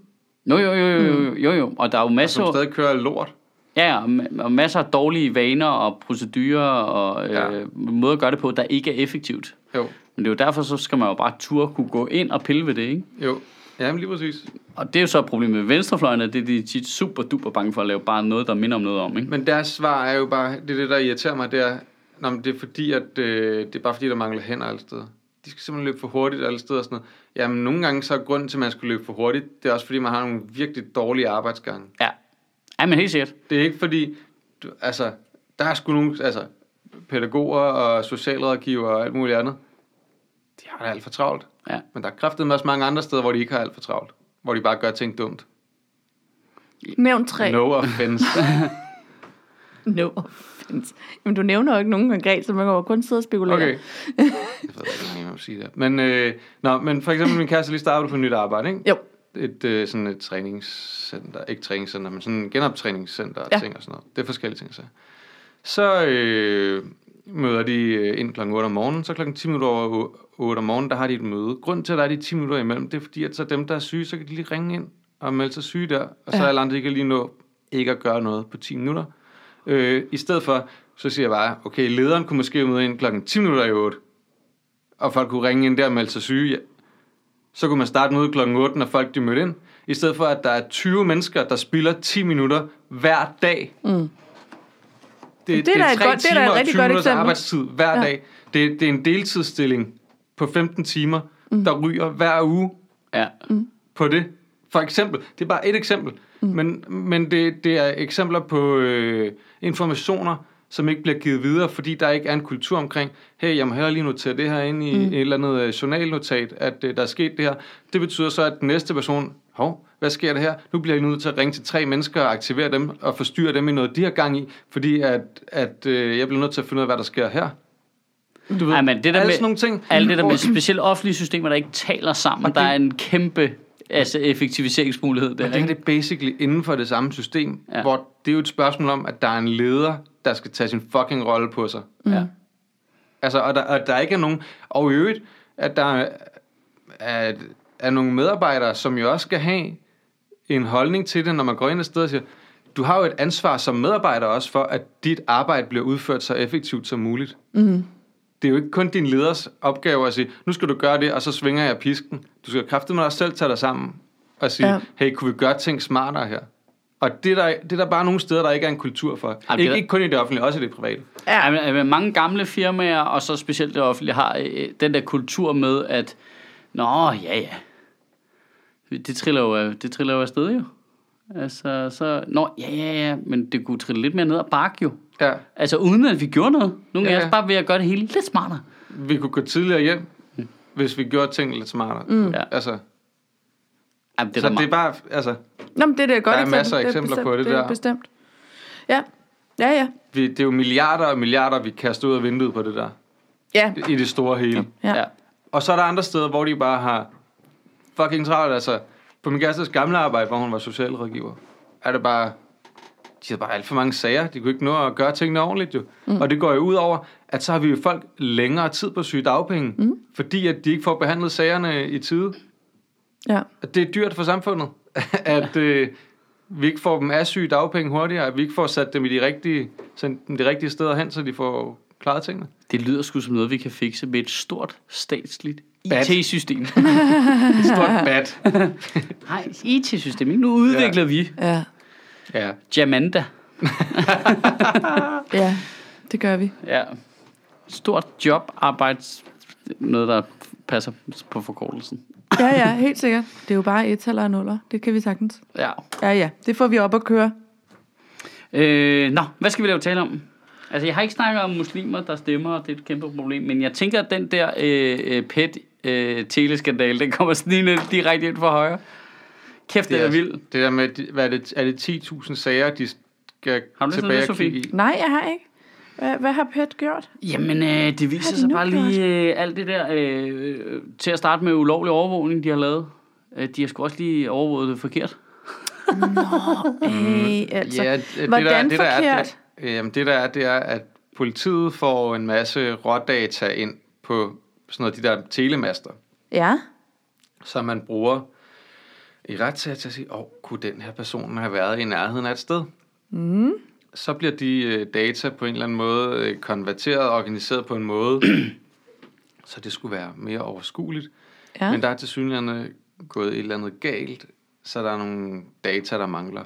Jo, jo, jo, jo, jo, jo, jo. Og der er jo masser,
Som
af-
Altså, stadig kører lort.
ja, og ma- og masser af dårlige vaner og procedurer og øh,
Ja.
måder at gøre det på, der ikke er effektivt.
Jo,
Men det er jo derfor, så skal man jo bare turde kunne gå ind og pille ved det, ikke?
jo. Jamen lige præcis.
Og det er jo så et problem med venstrefløjen, at det er de tit super duper bange for at lave bare noget, der minder om noget om, ikke?
Men deres svar er jo bare, det er det, der irriterer mig, det er, Nå, men det er fordi, at øh, det er bare fordi, der mangler hænder alle steder. De skal simpelthen løbe for hurtigt alle steder og sådan noget. Jamen, nogle gange så er grunden til, at man skal løbe for hurtigt, det er også fordi, man har nogle virkelig dårlige arbejdsgange.
Ja. Ja, men helt sikkert.
Det er ikke fordi, du, altså, der er sgu nogle, altså, pædagoger og socialrådgiver og alt muligt andet. De har det alt for travlt.
Ja.
Men der er kraftedeme også mange andre steder, hvor de ikke har alt for travlt. Hvor de bare gør ting dumt.
Nævn tre.
No offense.
No offense. Jamen, du nævner jo ikke nogen konkret, så man kan jo kun sidde og spekulere.
Okay. Jeg ved ikke, om jeg må sige det. Men, øh, nå, men for eksempel min kæreste er lige startede på et nyt arbejde, ikke?
Jo.
Et, øh, sådan et træningscenter, ikke træningscenter, men sådan en genoptræningscenter og
Ja.
ja. ting og sådan noget. Det er forskellige ting, så. Så øh, møder de øh, ind klokken 8 om morgenen, så klokken 10 minutter over 8 om morgenen, der har de et møde. Grunden til, at der er de 10 minutter imellem, det er fordi, at så dem, der er syge, så kan de lige ringe ind og melde sig syge der, og så
Ja.
ja. alle andre, de kan lige nå ikke at gøre noget på 10 minutter. Øh, I stedet for, så siger jeg bare, okay, lederen kunne måske møde ind klokken 10 minutter i 8, og folk kunne ringe ind der og melde sig syge. Ja. Så kunne man starte mødet klokken 8, når folk de mødte ind. I stedet for, at der er 20 mennesker, der spilder 10 minutter hver dag. Mm. Det, det,
da et
tre
godt- det er da et
timer og
rigtig
20
godt
minutters
eksempel.
arbejdstid hver
Ja.
ja. dag. Det, det er en deltidsstilling på 15 timer, mm. der ryger hver uge
Ja.
på det. For eksempel, det er bare et eksempel, mm. men, men det, det er eksempler på øh, informationer, som ikke bliver givet videre, fordi der ikke er en kultur omkring, hey, jeg må hellere lige notere det her ind i mm. et eller andet øh, journalnotat, at øh, der er sket det her. Det betyder så, at den næste person, hov, hvad sker der her? Nu bliver jeg nødt til at ringe til tre mennesker og aktivere dem og forstyrre dem i noget, de har gang i, fordi at, at øh, jeg bliver nødt til at finde ud af, hvad der sker her. Du ved,
Ej, men det der
alle
med-
sådan nogle ting.
Alt det der med
hvor-
specielt offentlige systemer, der ikke taler sammen,
Og
der
det-
er en kæmpe altså, effektiviseringsmulighed der.
Men det
ikke?
her det er basically inden for det samme system,
Ja.
ja. hvor det er jo et spørgsmål om, at der er en leder, der skal tage sin fucking rolle på sig.
Ja.
Altså, og der, og der ikke er nogen... Og i øvrigt, at der er, er, er nogle medarbejdere, som jo også skal have en holdning til det, når man går ind et sted og siger, du har jo et ansvar som medarbejder også for, at dit arbejde bliver udført så effektivt som muligt. Mm. Det er jo ikke kun din leders opgave at sige, nu skal du gøre det, og så svinger jeg pisken. Du skal kræfte med dig selv tage dig sammen og sige,
Ja.
ja. hey, kunne vi gøre ting smartere her? Og det er, der, det er der bare nogle steder, der ikke er en kultur for.
det er
Ikke,
der-
ikke kun i det offentlige, også i det private.
Ja. men, men mange gamle firmaer, og så specielt det offentlige, har øh, den der kultur med, at Nå, ja, ja. Det triller jo, af- det triller jo afsted jo. Altså, så... Nå, ja, ja, ja. Men det kunne trille lidt mere ned ad bakke jo.
Ja.
Altså, uden at vi gjorde noget. Nogle ja,
Ja,
af os
ja.
bare ved at gøre det hele lidt smartere.
Vi kunne gå tidligere hjem. hvis vi gjorde tingene lidt smartere. Mm.
Mm. Ja.
Altså,
Jamen, det er
så
der
det er
meget.
bare, altså,
Nå, men det er da et godt
Der er
eksempel.
masser af
Det
eksempler
bestemt,
på det
er
der.
bestemt. Ja, ja, ja.
vi, det er jo milliarder og milliarder, vi kaster ud af vinduet på det der,
Ja,
i det store hele.
ja.
Ja.
ja.
Og så er der andre steder, hvor de bare har fucking travlt. Altså, på min kærestes gamle arbejde, hvor hun var socialrådgiver, er det bare... De havde bare alt for mange sager. De kunne ikke nå at gøre tingene ordentligt, jo. Mm. Og det går jo ud over, at så har vi jo folk længere tid på syge dagpenge, mm. fordi at de ikke får behandlet sagerne i tide.
ja.
At det er dyrt for samfundet, (laughs) at øh, vi ikke får dem af syge dagpenge hurtigere, at vi ikke får sat dem i de rigtige, sendt dem de rigtige steder hen, så de får klaret tingene.
Det lyder sgu som noget, vi kan fikse med et stort statsligt
Bat.
IT-system.
Et stort bat.
(laughs) Nej, IT-system. ikke? Nu udvikler ja. vi
ja.
(laughs) Ja.
Jamanda.
ja. det gør vi.
Ja. Stort job, arbejds... Noget, der passer på forkortelsen.
Ja, ja, helt sikkert. Det er jo bare et eller nuller. Det kan vi sagtens.
Ja.
Ja, ja, det får vi op at køre.
Øh, nå, hvad skal vi lave tale om? Altså, jeg har ikke snakket om muslimer, der stemmer, og det er et kæmpe problem, men jeg tænker, at den der øh, øh, pet øh, teleskandal, den kommer snigende direkte ind fra højre. Kæft, det er, vildt.
Det der med, de- hvad er det, er det 10.000 sager, de skal
Har du læst
tilbage
det,
og
Sofie?
kigge i?
Nej, jeg har ikke. Hvad, hvad har PET gjort?
Mm,
Jamen, øh, det viser
det
sig
nu
bare lige øh, alt det der. Øh, øh, til at starte med ulovlig overvågning, de har lavet. Øh, de har sgu også lige overvåget det forkert.
Hey, altså,
Ja, det,
hvordan
det, der, det, der er,
forkert?
det, øh, jamen, det der er, det er, at politiet får en masse rådata ind på sådan noget, de der telemaster,
ja.
som man bruger i retssager til at sige, åh, kunne den her person have været i nærheden af et sted? Mm. Så bliver de øh, data på en eller anden måde øh, konverteret og organiseret på en måde, (clears throat) så det skulle være mere overskueligt.
ja.
Men der er til synligheden gået et eller andet galt, så der er nogle data, der mangler.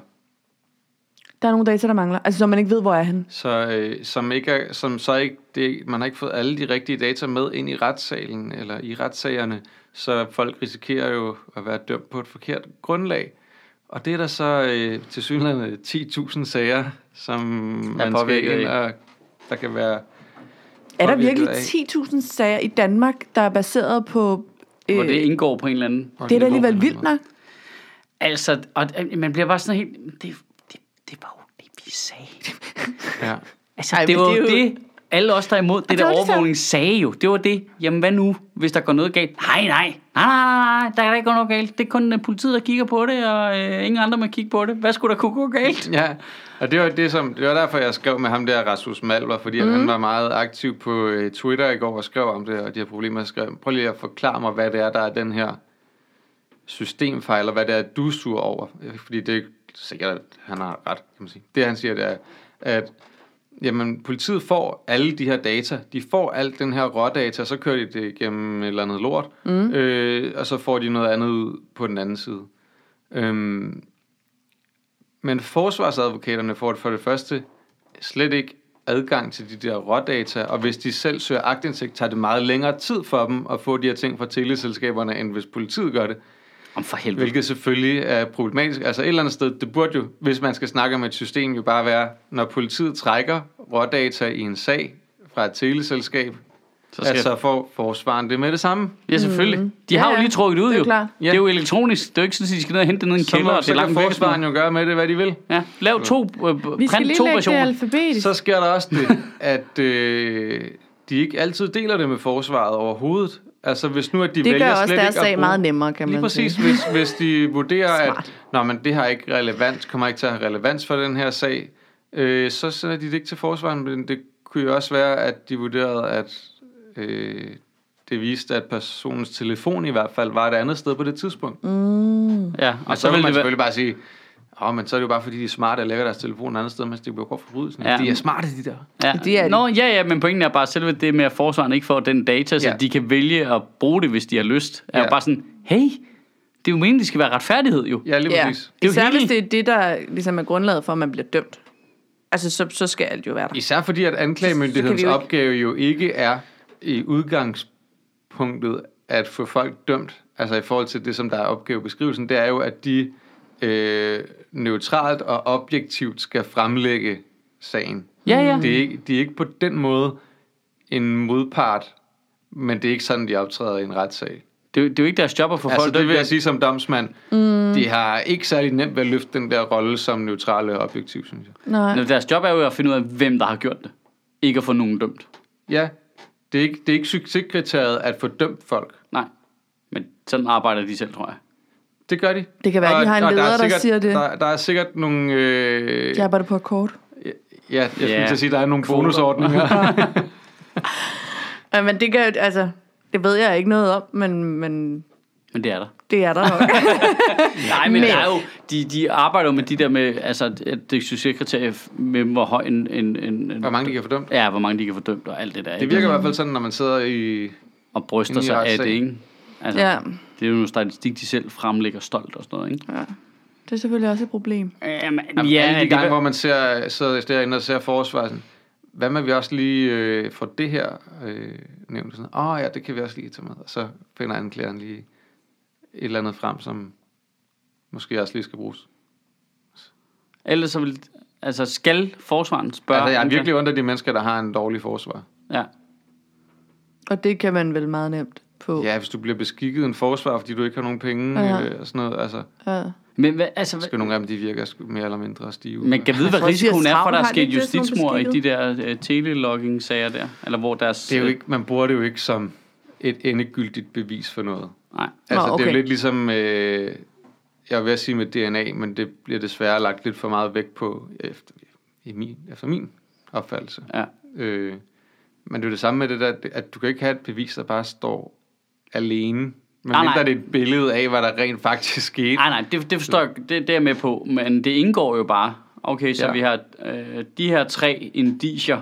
Der er nogle data, der mangler. Altså, så man ikke ved, hvor er han.
Så, øh, som ikke er, som så ikke, det, man har ikke fået alle de rigtige data med ind i retssalen eller i retssagerne, så folk risikerer jo at være dømt på et forkert grundlag. Og det er der så øh, til synligheden 10.000 sager, som man
påvirket
skal ind
af.
og der kan være...
Er der
påvirket
virkelig
af.
10.000 sager i Danmark, der er baseret på... øh,
Hvor det indgår på en eller anden
på et
det er da
niveau,
alligevel
man-
vildt nok.
Altså, og øh, man bliver bare sådan helt... Det, det, det var jo det, vi
(laughs)
sagde.
Ja.
Altså,
Ej,
Ej, det
men
var
det er
jo
jo-
det, alle os, der er imod det
det
der
var det, de
overvågning, sagde jo. Det var det. Jamen, hvad nu, hvis der går noget galt? Nej, nej. Nej, nej, nej. Der er da ikke noget galt. Det er kun øh, politiet, der kigger på det, og øh, ingen andre må kigge på det. Hvad skulle der kunne gå galt?
Ja, og det var, det, som, det var derfor, jeg skrev med ham der, Rasmus Malver, fordi mm. han var meget aktiv på øh, Twitter i går og skrev om det, og de her problemer jeg skrev. Prøv lige at forklare mig, hvad det er, der er den her systemfejl, eller hvad det er, du er sur over. Fordi det er sikkert, at han har ret, kan man sige. Det, han siger, det er, at jamen, politiet får alle de her data. De får alt den her rådata, så kører de det gennem et eller andet lort, mm. øh, og så får de noget andet ud på den anden side. Øhm, men forsvarsadvokaterne får for det første slet ikke adgang til de der rådata, og hvis de selv søger agtindsigt, tager det meget længere tid for dem at få de her ting fra teleselskaberne, end hvis politiet gør det,
Om for helvede.
hvilket selvfølgelig er problematisk. Altså et eller andet sted, det burde jo, hvis man skal snakke om et system, jo bare være, når politiet trækker rådata i en sag fra et teleselskab, så, skal...
skal-
at så får forsvaren det med det samme.
Ja, selvfølgelig. Mm. De
Ja,
har jo
ja.
lige trukket det ud,
Det er
jo.
klart.
Det er jo elektronisk. Det er jo ikke sådan, at de skal ned og hente det ned i en
Så,
kælder,
må,
og det er
så kan
langt væk. og sådan
forsvaren jo gøre med det, hvad de vil.
noget. Ja, lav to, øh,
Vi skal
print
lige
to
lægge det
versioner.
alfabetisk.
Så sker der også det, at øh, de ikke altid deler det med forsvaret overhovedet. Altså hvis nu, at de
det
vælger
gør også
slet
deres
ikke at
sag
bruge...
meget nemmere, kan
Lige
man
præcis,
sige.
hvis, hvis
(laughs)
de vurderer, at
Smart.
Nå, men det har ikke relevans, kommer ikke til at have relevans for den her sag, øh, så sender de det ikke til forsvaren, men det kunne jo også være, at de vurderede, at øh, det viste, at personens telefon i hvert fald var et andet sted på det tidspunkt. Mm.
Ja,
Og
og
så,
så
vil
vil
man
det være...
selvfølgelig bare sige, Åh, men så er det jo bare fordi, de er smarte og lægger deres telefon et andet sted, mens de bliver godt forbrydelsen.
Ja.
Ja. De er smarte, de der.
Ja.
Det er det.
Nå, ja, ja, men pointen er bare selve det med, at forsvaren ikke får den data, så
Ja.
de kan vælge at bruge det, hvis de har lyst. Er
Ja.
jo bare sådan, hey, det er jo meningen, det skal være retfærdighed jo.
Ja, lige
Ja.
præcis.
Det er jo
Især
hele-
hvis det er det, der ligesom er grundlaget for, at man bliver dømt. Altså, så, så skal alt jo være der.
Især fordi, at
Så
anklagemyndighedens
kan vi jo
jo
ikke-
opgave jo ikke er i udgangspunktet at få folk dømt. Altså i forhold til det, som der er opgavebeskrivelsen, det er jo, at de øh, neutralt og objektivt skal fremlægge sagen.
Ja, ja.
Det er ikke, de er ikke på den måde en modpart Men det er ikke sådan, de optræder i en retssag.
Det, er jo- det er jo ikke deres job at få
Altså,
folk...
det vil jeg sige som domsmand. Mm. De har ikke særlig nemt ved at løfte den der rolle som neutrale og objektiv, synes jeg.
Nej.
Men Deres job er jo at finde ud af, hvem der har gjort det. Ikke at få nogen dømt.
Ja, det er ikke, det er ikke succeskriteriet at få dømt folk.
Nej. Men sådan arbejder de selv, tror jeg.
Det gør de.
Det kan være, de har en
og er
leder, der
sikkert,
siger det.
Der, der er sikkert nogle... Øh,
Jeg
ja.
arbejder på akkord.
ja, jeg skulle
Ja.
til at sige, der er nogle
Kvoter. (laughs)
bonusordninger.
Ja, men det kan jo, altså, det ved jeg ikke noget om, men, men
Men det er der.
det er der nok.
Nej, men
Men-
der er jo, de, de arbejder jo med de der med, altså at det er succeskriterie med, hvor høj en, en, en, en
Hvor mange de kan få dømt.
Ja, hvor mange de kan få dømt og alt det der.
Det
ikke?
virker i hvert fald sådan, når man sidder i...
Og bryster
Inde i
sig af det,
retssagen.
ikke? Altså,
(laughs) ja,
Det er jo en statistik, de selv fremlægger stolt og sådan noget, ikke?
det er selvfølgelig også et problem.
Jamen,
Jamen, ja, alle de
det
gange,
kan-
hvor man ser, sidder derinde og ser forsvaret sådan, hvad med vi også lige øh, får det her øh, nævnt? Sådan, Åh oh, ja, det kan vi også lige tage med. Og så finder anklageren lige et eller andet frem, som måske også lige skal bruges.
Ellers så vil... Altså, skal forsvaren spørge...
Altså, jeg er
anklager-
virkelig under de mennesker, der har en dårlig forsvar.
Ja.
Og det kan man vel meget nemt på.
Ja, hvis du bliver beskikket en forsvar, fordi du ikke har nogen penge
Ja.
ja. øh, og sådan noget. Altså,
Ja.
Men hvad, altså,
skal nogle af dem, de virker sgu mere eller mindre stive.
Man kan vide, hvad
tror,
risikoen er
Tivs
for, at der er
Havn har
sket
lidt det, sådan nogle
justitsmord i de der uh, telelogging-sager der. Eller hvor deres... øh,
det er jo ikke, man bruger det jo ikke som et endegyldigt bevis for noget.
Nej.
Altså, Nå, okay. det er
okay.
jo lidt ligesom, øh, jeg vil sige med DNA, men det bliver desværre lagt lidt for meget vægt på, øh, efter, i min, efter min opfattelse.
Ja.
Øh, men det er jo det samme med det der, at du kan ikke have et bevis, der bare står alene. Men
Nej, nej.
mindre det er et billede af, hvad der rent faktisk skete.
Nej, nej, det, det forstår jeg, det, det er jeg med på, men det indgår jo bare. Okay, så ja.
Ja.
vi har øh, de her tre indicier,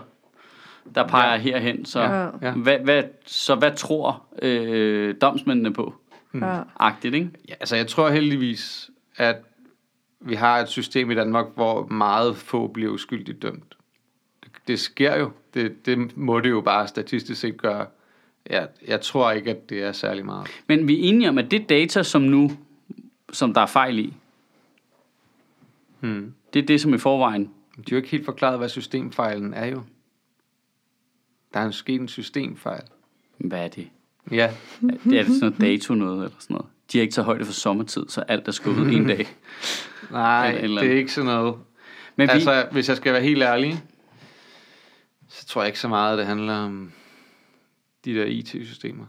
der peger ja. herhen. Så,
Ja.
Ja.
Hvad, hvad, så hvad tror øh, domsmændene på?
Ja.
Agtigt, ikke?
Ja, altså, jeg tror heldigvis, at vi har et system i Danmark, hvor meget få bliver uskyldigt dømt. Det, det sker jo. Det, det må det jo bare statistisk set gøre. Jeg, jeg tror ikke, at det er særlig meget.
Men vi er enige om, at det data, som nu, som der er fejl i,
Hmm.
det er det, som i forvejen...
De har jo ikke helt forklaret, hvad systemfejlen er jo. Der er jo sket en systemfejl.
Hvad er det?
Ja,
Det er det sådan noget dato noget eller sådan noget. De har ikke taget højde for sommertid, så alt er skubbet
(laughs)
en dag.
nej,
Eller et eller
det er
andet.
ikke sådan noget.
Men vi,
Altså, hvis jeg skal være helt ærlig, så tror jeg ikke så meget, det handler om de der IT-systemer.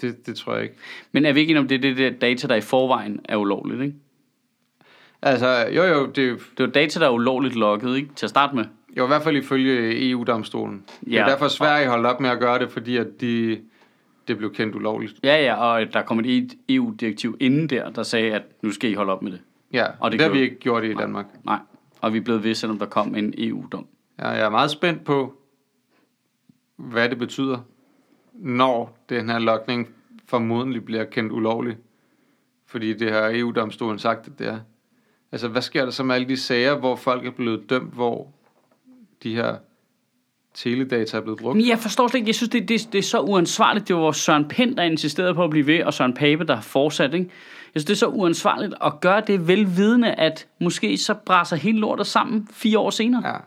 Det, det tror jeg ikke.
men er vi ikke enige om, det er det der data, der i forvejen er ulovligt, ikke?
Altså, jo jo, det er jo-
Det var data, der er ulovligt logget, ikke? Til at starte med.
jo i hvert fald ifølge EU-domstolen. Ja. Det
Ja.
er derfor Sverige holdt op med at gøre det, fordi at de, det blev kendt ulovligt.
Ja, ja, og der kom et EU-direktiv inden der, der sagde, at nu skal I holde op med det.
Ja,
Og
og
det
det, det har
gjorde-
vi ikke gjort i Danmark.
Nej, og vi er blevet ved, selvom der kom en E EU-dom.
Ja, jeg er meget spændt på, hvad det betyder, når den her lokning formodentlig bliver kendt ulovlig. Fordi det har EU-domstolen sagt, at det er. Altså, hvad sker der så med alle de sager, hvor folk er blevet dømt, hvor de her teledata er blevet brugt?
Men jeg forstår slet ikke, jeg synes, det, det, det er så uansvarligt. Det var Søren Pind, der insisterede på at blive ved, og Søren Pape, der har fortsat, ikke? Jeg synes, det er så uansvarligt at gøre det velvidende, at måske så braser hele lortet sammen fire år senere.
Ja.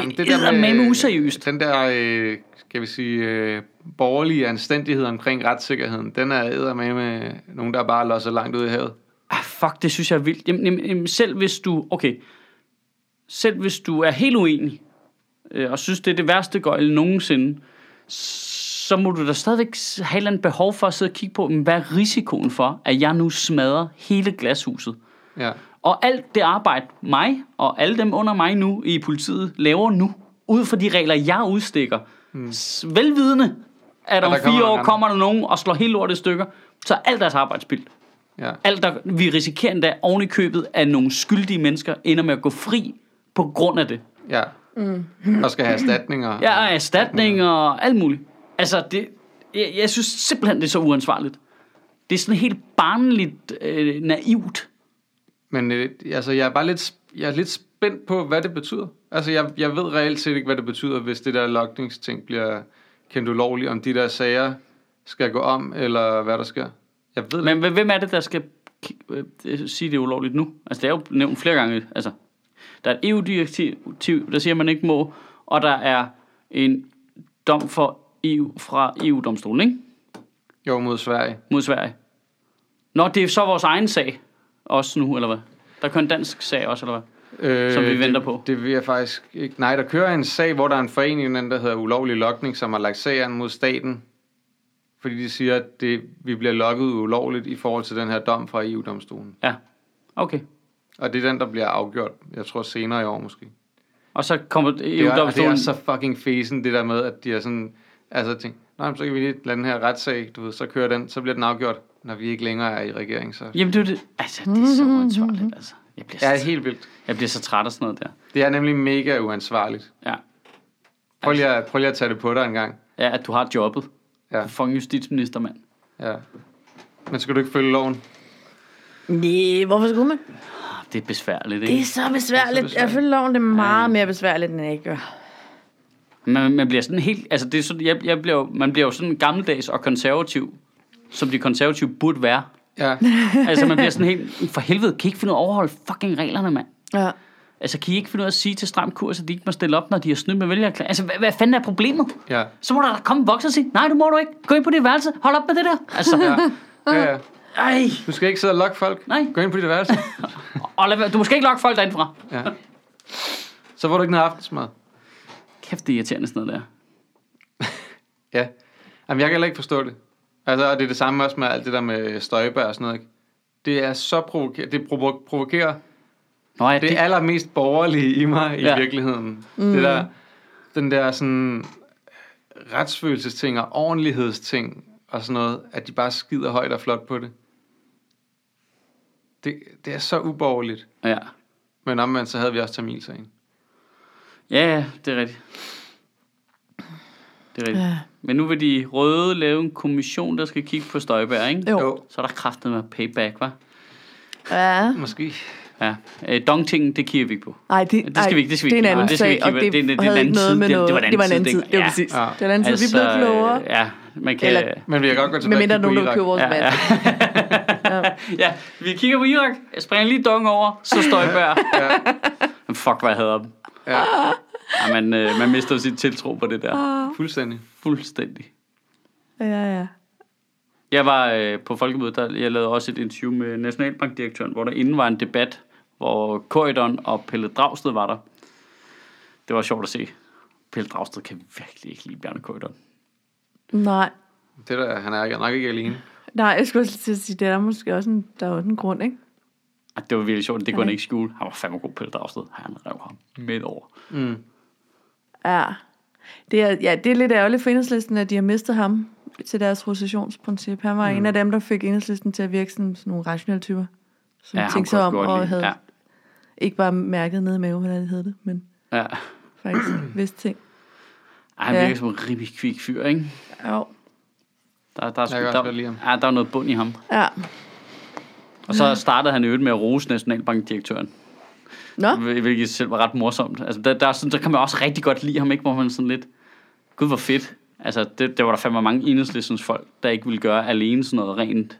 Det er eddermame useriøst.
Den der, øh, skal vi sige, øh, borgerlige anstændighed omkring retssikkerheden, den er eddermame med nogen, der bare losser langt ud i havet.
Ah, fuck, det synes jeg er vildt. Jamen, jamen, jamen, selv hvis du, okay, selv hvis du er helt uenig, øh, og synes, det er det værste gøjl nogensinde, så må du da stadigvæk s- have et eller andet behov for at sidde og kigge på, jamen, hvad er risikoen for, at jeg nu smadrer hele glashuset?
Ja.
Og alt det arbejde, mig og alle dem under mig nu i politiet laver nu, ud fra de regler, jeg udstikker, mm. velvidende, at
Hmm. der kommer
om fire
nogle
år
andre.
kommer der nogen og slår helt lortet i stykker, så er alt deres arbejdsspil.
ja.
Alt, der, vi risikerer endda oven i købet, at nogle skyldige mennesker ender med at gå fri på grund af det.
Ja. Mm. Og skal have erstatninger.
Ja, og erstatning og alt muligt. Altså, det, jeg, jeg synes simpelthen, det er så uansvarligt. Det er sådan helt barnligt øh, naivt.
Men øh, altså, jeg er bare lidt, sp- jeg er lidt spændt på, hvad det betyder. Altså, jeg, jeg ved reelt set ikke, hvad det betyder, hvis det der logningsting bliver kendt ulovligt, om de der sager skal gå om, eller hvad der sker. Jeg ved Men,
Men hvem hvem er det, der skal k- øh, øh, sige det er ulovligt nu? Altså, det er jo nævnt flere gange. Altså, der E er et EU-direktiv, der siger, at man ikke må, og der er en dom for EU, fra EU-domstolen, ikke?
Jo, mod Sverige.
Mod Sverige. Nå, det er så vores egen sag også nu, eller hvad? Der kører en dansk sag også, eller hvad?
Øh,
Som vi venter
det,
på.
Det vil jeg faktisk ikke. Nej, der kører en sag, hvor der er en forening, der hedder Ulovlig Lokning, som har lagt sagen mod staten. Fordi de siger, at det, vi bliver lokket ulovligt i forhold til den her dom fra E EU-domstolen.
Ja, okay.
Og det er den, der bliver afgjort, jeg tror senere i år måske.
Og så kommer
Det er, og det er altså-
EU-domstolen...
så fucking fesen, det der med, at de er sådan... Altså, tænkt, nej, men så kan vi lige lade den her retssag, du ved, så kører den, så bliver den afgjort, når vi ikke længere er i regering, så...
Jamen, det er jo det. Altså, det er så
(laughs)
uansvarligt, altså. Jeg bliver,
Ja,
så,
helt vildt.
jeg bliver så træt af sådan noget der.
Det er nemlig mega uansvarligt.
Ja,
Prøv lige at, prøv lige at tage det på dig en gang.
ja at du har jobbet.
Ja.
Ja. Fucking justitsminister, mand.
Ja. Men skal du ikke følge loven?
Nej, hvorfor skulle man?
Ah, Det er besværligt,
Det er
ikke?
så besværligt.
besværligt.
Jeg føler loven, det er meget mere besværligt, end jeg ikke gør.
Man, man bliver sådan helt... Altså, det er sådan, jeg, jeg bliver, jo- man bliver jo sådan gammeldags og konservativ, som de konservative
(laughs)
burde være.
Ja.
Altså, man bliver sådan helt... For helvede, kan I ikke finde ud af at overholde fucking reglerne, mand?
Ja.
Altså, kan I ikke finde ud af at sige til stram kurs, at de ikke må stille op, når de har snydt med vælgerklæring? Altså, hvad, hvad fanden er problemet?
Ja.
Så må der da komme en voksen og sige, nej, du må du ikke. Gå ind på dit værelse. Hold op med det der. Altså, ja.
ja, ja.
ej.
Du skal ikke sidde og lokke folk.
Nej.
Gå ind på dit værelse.
Og lad, være- du må skal ikke lokke folk derindfra.
Ja. Så får du ikke noget aftensmad.
Kæft, det er irriterende sådan noget der.
Ja. Jamen, jeg kan heller ikke forstå det. Altså, og det er det samme også med alt det der med støjbær og sådan noget, ikke? Det er så provokerer, det provo- provokerer
Nå ja, det,
det
det,
allermest borgerlige i mig i
Ja.
ja. virkeligheden. Mm. Det der, den der sådan retsfølelsesting og ordentlighedsting og sådan noget, at de bare skider højt og flot på det. Det, det er så uborgerligt.
ja.
Men omvendt, så havde vi også Tamilsagen.
ja, ja, det er rigtigt. Det er rigtigt.
Ja.
Men nu vil de røde lave en kommission, der skal kigge på Støjbær, ikke?
Jo.
Jo,
Så er der kraftet med payback, hva'?
Ja.
måske.
Ja. Øh, Dongtingen, det kigger vi ikke på.
Ej, det,
Det skal vi ikke- det skal
det
vi
er en
ikke.
anden
Nej, det skal vi
sag,
ikke.
og
Det var-
det,
det-
det,
det- det er
havde
en anden
ikke noget
tid.
med
Det- det
noget.
var en anden
det var en
tid
anden tid.
dengang.
Det var
Ja. Altså,
præcis.
Ja.
Det var en anden tid. Altså, Vi blev klogere.
øh, Ja, man kan...
Eller-
Men vi kan godt gå tilbage
Med
og
mindre
kigge på
nogen, der
Irak.
køber vores
Ja,
vand.
ja. (laughs) ja, vi kigger på Irak, jeg springer lige dong over, så Støjbær.
(laughs)
ja. Fuck, hvad jeg hader dem.
Ja,
Ja, man, øh, man mister jo sit tiltro på det der.
Ah.
fuldstændig.
Fuldstændig.
Ja, ja.
Jeg var øh, på Folkemødet, der jeg lavede også et interview med Nationalbankdirektøren, hvor der inden var en debat, hvor Korydon og Pelle Dragsted var der. Det var sjovt at se. Pelle Dragsted kan virkelig ikke lide Bjarne Korydon.
Nej.
Det der, han er nok ikke alene.
Nej, jeg skulle også til at sige, det er der måske også en, der er også en grund, ikke?
Ej, Det var virkelig sjovt, det kunne
Ja.
han ikke skjule. Han var fandme god Pelle Dragsted. Han rev ham midt over.
Mm.
Ja. Det er, ja, det er lidt ærgerligt for enhedslisten, at de har mistet ham til deres rotationsprincip. Han var mm. en af dem, der fik enhedslisten til at virke som sådan nogle rationelle typer. Som
Ja,
ja,
ham
tænkte sig
kunne jeg
om
godt
og
lide.
havde
Ja.
ja. ikke bare mærket nede i maven, hvordan det hed det, men
Ja. (clears throat)
faktisk vidste ting.
Ej, han
Ja.
virker som en rimelig kvik fyr, ikke?
Jo.
Der, der, er
Jeg
sgu-
kan
der,
også godt lide ham.
ja, der er noget bund i ham.
Ja.
Og så startede han i øvrigt med at rose Nationalbankdirektøren.
Nå,
Hvil- Hvilket selv var ret morsomt. Altså, der, der, er sådan, der kan man også rigtig godt lide ham, ikke? Hvor man sådan lidt... Gud, hvor fedt. Altså, det, det var der fandme mange enhedslæssens folk, der ikke ville gøre alene sådan noget rent...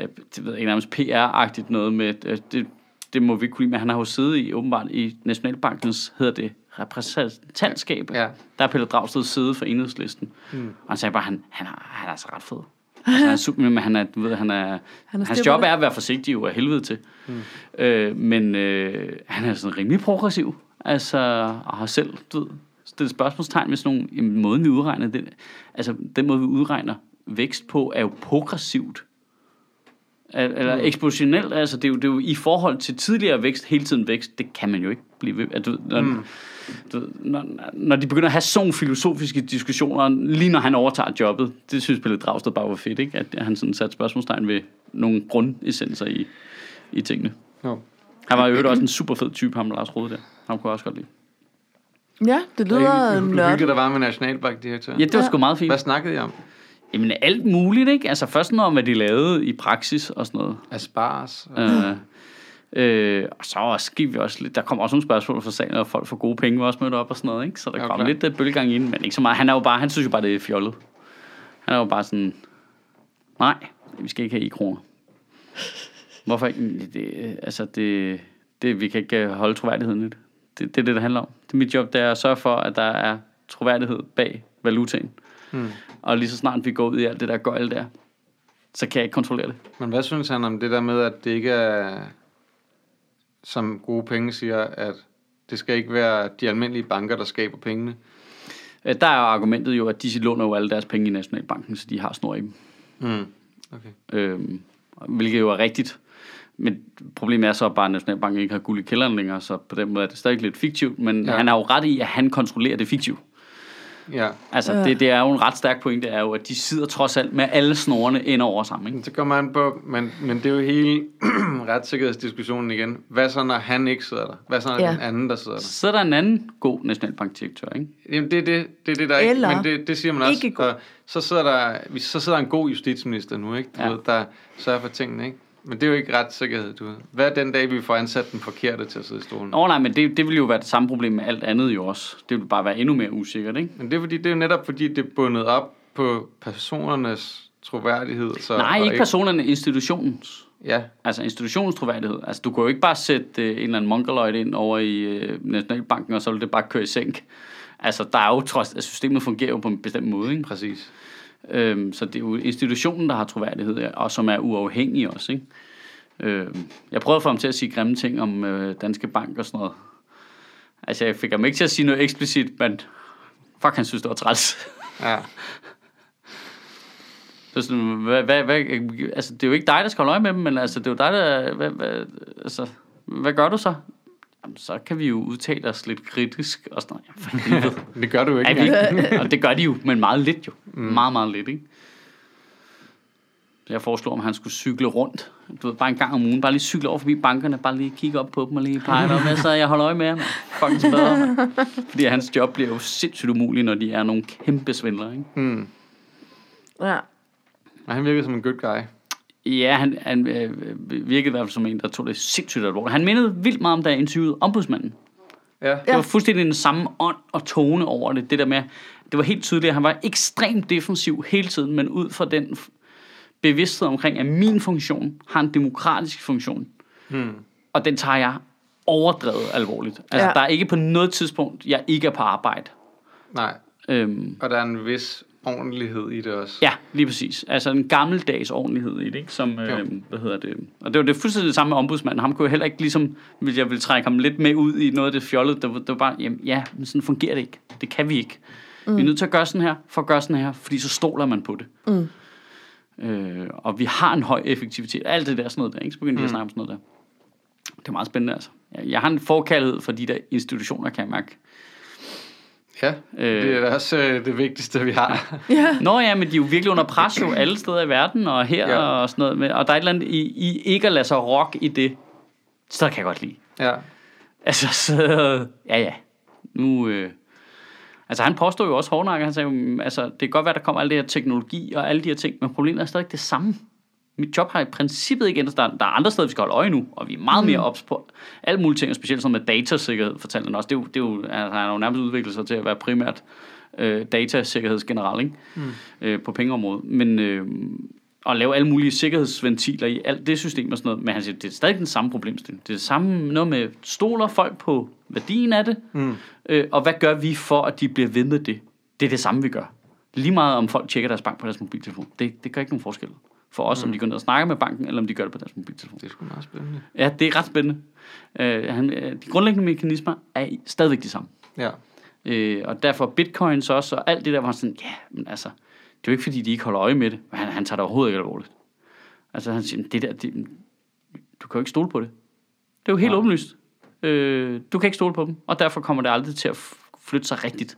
Øh, det ved jeg ikke, nærmest PR-agtigt noget med... Øh, det, det må vi ikke kunne lide, men han har jo siddet i, åbenbart, i Nationalbankens, hedder det, repræsentantskab.
Ja.
Der er Pelle Dragsted side for enhedslisten. Mm. Og han sagde bare, han, han, er, han er altså ret fed. Altså, han er super, men han er, du ved, han er, han er
styr
hans
på
job
det.
er at være forsigtig jo af helvede til. Mm. Øh, men øh, han er sådan rimelig progressiv. Altså, og har selv, du ved, stillet spørgsmålstegn ved sådan nogle, jamen, måden vi udregner det. Altså, den måde vi udregner vækst på, er jo progressivt. Al- Eller ekspositionelt, altså det er, jo, det er jo i forhold til tidligere vækst, hele tiden vækst, det kan man jo ikke blive ved. At, du, ved, når, mm. du, ved, når, når de begynder at have sådan nogle filosofiske diskussioner, lige når han overtager jobbet, det synes Pelle Dragsted bare var fedt, ikke? at han sådan satte spørgsmålstegn ved nogle grundessenser i, i tingene.
Jo.
Han var jo også en super fed type, ham Lars Rode der. Ham kunne jeg også godt lide.
ja, det
Det
lyder
hyggeligt,
nørdet.
der var med Nationalbankdirektøren.
Ja, det var
Ja.
sgu meget fint.
Hvad snakkede I om?
Jamen alt muligt, ikke? Altså først noget om, hvad de lavede i praksis og sådan noget.
Aspars. Ja.
Øh, øh, og så også, gik vi også lidt, der kom også nogle spørgsmål fra sagen, og folk for gode penge var også mødt op og sådan noget, ikke? Så der
Ja,
kom
klart.
lidt uh, bølgegang ind, men ikke så meget. Han, er jo bare, han synes jo bare, det er fjollet. Han er jo bare sådan, nej, vi skal ikke have i-kroner. Hvorfor ikke? Det, altså, det, det, vi kan ikke øh, holde troværdigheden i det. det. Det er det, det handler om. Det er mit job, det er at sørge for, at der er troværdighed bag valutaen. Mm. Og lige så snart vi går ud i alt det der gøjl der, så kan jeg ikke kontrollere det.
Men hvad synes han om det der med, at det ikke er, som gode penge siger, at det skal ikke være de almindelige banker, der skaber pengene?
Øh, Der er jo argumentet jo, at de låner jo alle deres penge i Nationalbanken, så de har snor i dem.
Mm. Okay.
Øhm, hvilket jo er rigtigt. Men problemet er så bare, at Nationalbanken ikke har guld i kælderen længere, så på den måde er det stadig lidt fiktivt. Men
Ja.
ja. han har jo ret i, at han kontrollerer det fiktivt.
Ja.
Altså,
Ja.
Øh.
det, det er jo en ret stærk pointe, er jo, at de sidder trods alt med alle snorene ind over sammen. Ikke?
Så kommer han på, men, men det er jo hele (clears throat) retssikkerhedsdiskussionen igen. Hvad så, når han ikke sidder der? Hvad så, når
Ja.
ja. den anden, der sidder der?
Så er der en anden god nationalbankdirektør, ikke?
Jamen, det er det, det, er det der ikke,
Eller
men det, det siger man også.
ikke god.
Og så, sidder der, vi- så sidder der en god justitsminister nu, ikke? Du
Ja.
ja. ved, der sørger for tingene, ikke? Men det er jo ikke retssikkerhed, du ved. Hvad er den dag, vi får ansat den forkerte til at sidde i stolen?
Nå nej, men det, det vil jo være det samme problem med alt andet jo også. Det vil bare være endnu mere usikkert, ikke?
Men det er, fordi, det er jo netop, fordi det er bundet op på personernes troværdighed. Så,
Nej,
og
ikke personerne, institutionens.
Ja,
Altså institutionens troværdighed. Altså, du kan jo ikke bare sætte øh, en eller anden mongoloid ind over i øh, Nationalbanken, og så vil det bare køre i sænk. Altså, der er jo trods, at systemet fungerer jo på en bestemt måde, ikke?
præcis.
Øhm, så det er jo institutionen, der har troværdighed, ja, og som er uafhængig også, ikke? Øhm, jeg prøvede at få ham til at sige grimme ting om øh, Danske Bank og sådan noget. Altså, jeg fik ham ikke til at sige noget eksplicit, men fuck, han synes, det var træls.
Ja.
Så sådan, hvad, hvad, hvad, altså, det er jo ikke dig, der skal holde øje med dem, men altså, det er jo dig, der... Hvad, hvad, altså, hvad gør du så? Jamen, så kan vi jo udtale os lidt kritisk og sådan noget. Jamen, for helvede.
Men det gør du jo ikke.
Er vi
engang.
ikke? Og det gør de jo, men meget lidt jo. Mm. Meget, meget lidt, ikke? Så Jeg foreslår, om han skulle cykle rundt. Du ved, bare en gang om ugen. Bare lige cykle over forbi bankerne. Bare lige kigge op på dem og lige pege dem. Hvad så jeg holder øje med ham? Fucking spadere, mand. Fordi hans job bliver jo sindssygt umuligt, når de er nogle kæmpe svindlere, ikke?
Mm.
Ja. (laughs)
Og han virkede som en good guy.
Ja, han, han øh, virkede i hvert fald som en, der tog det sindssygt alvorligt. Han mindede vildt meget om, da jeg interviewede ombudsmanden.
Ja.
Det
Ja.
var fuldstændig den samme ånd og tone over det. Det der med, det var helt tydeligt, at han var ekstremt defensiv hele tiden, men ud fra den f- bevidsthed omkring, at min funktion har en demokratisk funktion.
Hmm.
Og den tager jeg overdrevet alvorligt. Altså,
Ja.
ja. der er ikke på noget tidspunkt, jeg ikke er på arbejde.
Nej,
Øhm,
og der er en vis ordentlighed i det også.
Ja, lige præcis. Altså en gammeldags ordentlighed i det, ikke? Som, øh, hvad hedder det? Og det var det fuldstændig det samme med ombudsmanden. Ham kunne jeg heller ikke ligesom, vil jeg ville trække ham lidt med ud i noget af det fjollede. Det var, det var bare, jamen, ja, men sådan fungerer det ikke. Det kan vi ikke. Mm. Vi er nødt til at gøre sådan her, for at gøre sådan her, fordi så stoler man på det. Mm. Øh, og vi har en høj effektivitet. Alt det der sådan noget der, ikke? Så begyndte mm. de at snakke om sådan noget der. Det er meget spændende, altså. Jeg, jeg har en forkærlighed for de der institutioner, kan jeg mærke.
ja.
Øh,
Det er da også øh, det vigtigste, vi har.
Ja.
Nå ja, men de er jo virkelig under pres jo alle steder i verden og her
Ja.
ja. og sådan noget. med- Og der er et eller andet i, i ikke at lade sig rock i det. Så kan jeg godt lide.
ja.
Altså, så, ja ja. Nu, øh, altså han påstod jo også hårdnakker, han sagde, jo, "Mm, altså det kan godt være, der kommer al det her teknologi og alle de her ting, men problemet er stadig det samme. Mit job har i princippet ikke ændret sig. Der, der er andre steder, vi skal holde øje nu, og vi er meget mere ops på alle mulige ting, og specielt sådan noget med datasikkerhed, fortalte han også. Det er jo, det er jo, altså, han har jo nærmest udviklet sig til at være primært øh, datasikkerhedsgeneral ikke? Mm. Øh, på pengeområdet. Men øh, at lave alle mulige sikkerhedsventiler i alt det system og sådan noget, men han siger, det er stadig den samme problemstilling. Det er det samme noget med, stoler folk på værdien af det, mm. øh, og hvad gør vi for, at de bliver ved med det? Det er det samme, vi gør. Lige meget om folk tjekker deres bank på deres mobiltelefon. Det, det gør ikke nogen forskel for os, mm. om de går ned og snakker med banken, eller om de gør det på deres mobiltelefon.
Det er sgu meget spændende.
Ja, det er ret spændende. Øh, han, øh, de grundlæggende mekanismer er i- stadigvæk de samme.
Ja.
Øh, og derfor bitcoins også, og alt det der, var sådan, ja, men altså, det er jo ikke fordi, de ikke holder øje med det. Men han, han tager det overhovedet ikke alvorligt. Altså, han siger, det der, det, du kan jo ikke stole på det. Det er jo helt
Nej.
åbenlyst. Øh, du kan ikke stole på dem, og derfor kommer det aldrig til at f- flytte sig rigtigt.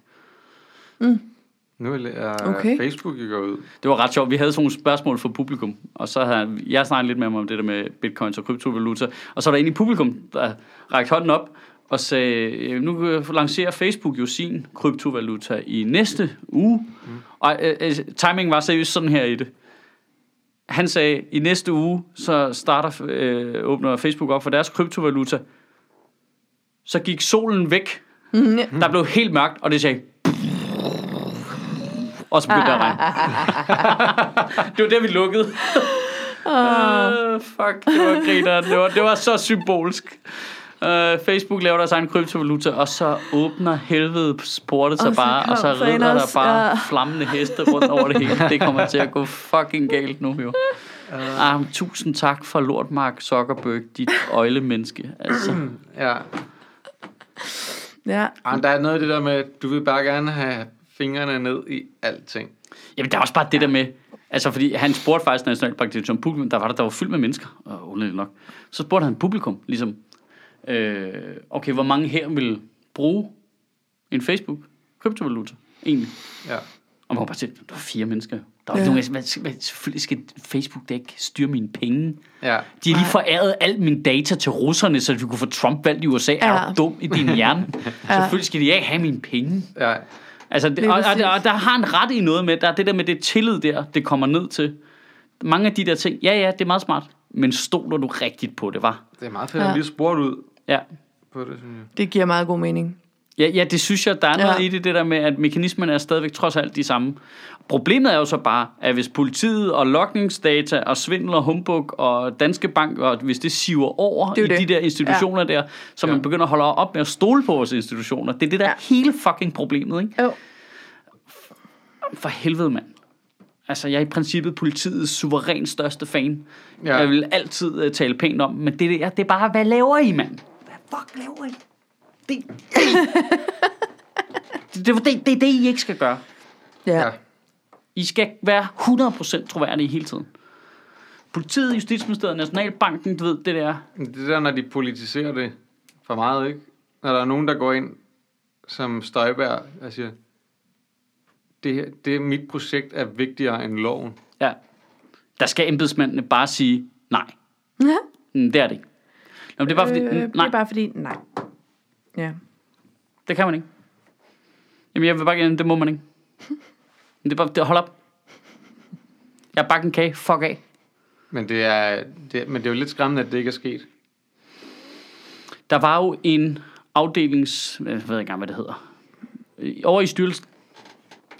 Nu er er
Okay.
Facebook jo gået ud.
Det var ret sjovt. Vi havde sådan nogle spørgsmål fra publikum, og så havde han- jeg snakket lidt med ham om det der med bitcoins og kryptovaluta, og så var der en i publikum, der rakte hånden op og sagde, "Øh, nu øh, lancerer Facebook jo sin kryptovaluta i næste uge, mm. og øh, øh, timingen var seriøst sådan her i det. Han sagde, i næste uge, så starter, øh, åbner Facebook op for deres kryptovaluta, så gik solen væk,
Mm, ja.
der blev helt mørkt, og det sagde... Og så begyndte der at
(laughs)
regne. det var der, vi lukkede.
Ah.
Øh, Uh, fuck, det var grineren. Det var, det var så symbolsk. Øh, Facebook laver deres egen kryptovaluta, og så åbner helvedes porte sig
Og så
bare, og så
kom
rider der
Thanos,
bare
ja.
flammende heste rundt over det hele. Det kommer til at gå fucking galt nu,
(laughs)
jo. Ah, men tusind tak for lort, Mark Zuckerberg, dit øjlemenneske. Altså,
Ja.
Ja.
Ej, men der er noget af det der med, at du vil bare gerne have fingrene ned i alting.
Jamen, der er også bare det der med... Altså, fordi han spurgte faktisk Nationalbanken som publikum, der var der, der var fyldt med mennesker, og underligt nok. Så spurgte han publikum, ligesom, øh, okay, hvor mange her vil bruge en Facebook kryptovaluta egentlig?
Ja.
Og man kunne bare se, der var fire mennesker. Der var ja.
Ja.
nogen, hvad, hvad, selvfølgelig skal Facebook da ikke styre mine penge.
Ja.
De har lige foræret alt min data til russerne, så vi kunne få Trump valgt i USA. Ja. Er
Ja.
du dum i din hjerne? (laughs) ja. Selvfølgelig skal de ikke have mine penge.
Ja.
Altså, det,
Lige
og, og,
præcis.
og der har han ret i noget med, der er det der med det tillid der, det kommer ned til. Mange af de der ting, ja ja, det er meget smart, men stoler du rigtigt på det, var?
Det er meget fedt, at
Ja.
han lige spurgte ud
Ja.
på det, synes jeg.
Det giver meget god mening.
Ja, ja, det synes jeg, der er
Ja.
noget ja. i det, det der med, at mekanismerne er stadigvæk trods alt de samme. Problemet er jo så bare, at hvis politiet og lokningsdata og svindel og humbug og Danske Bank, og hvis det siver over
Det er
i
jo
de
det.
der institutioner ja. der, så man
Ja.
begynder at holde op med at stole på vores institutioner, det er det der ja.
Ja.
hele fucking problemet, ikke?
Jo.
For helvede, mand. Altså, jeg er i princippet politiets suverænt største fan. Ja.
Ja.
Jeg vil altid uh, tale pænt om, men det, der, det er bare, hvad laver I, mand? Hvad fuck laver I? Det, det, det, det, det er det, I ikke skal gøre.
Ja.
Ja.
ja.
I skal være 100% troværdige hele tiden. Politiet, Justitsministeriet, Nationalbanken, du ved, det der.
Men Det der, når de politiserer det for meget, ikke? Når der er nogen, der går ind som Støjbær og siger, det, her, det er mit projekt er vigtigere end loven.
Ja. Der skal embedsmændene bare sige, nej, Mm, det er det ikke. Nå, men det er bare fordi,
øh,
mm,
det
nej,
er bare fordi, nej. Ja.
Det kan man ikke. Jamen, jeg vil bare gerne, det må man ikke. Men Det er bare, det, hold op. Jeg har bagt en kage, fuck af.
Men det, er, det, men det er jo lidt skræmmende, at det ikke er sket.
Der var jo en afdelings, jeg ved ikke engang, hvad det hedder. Øh, Over i styrelsen,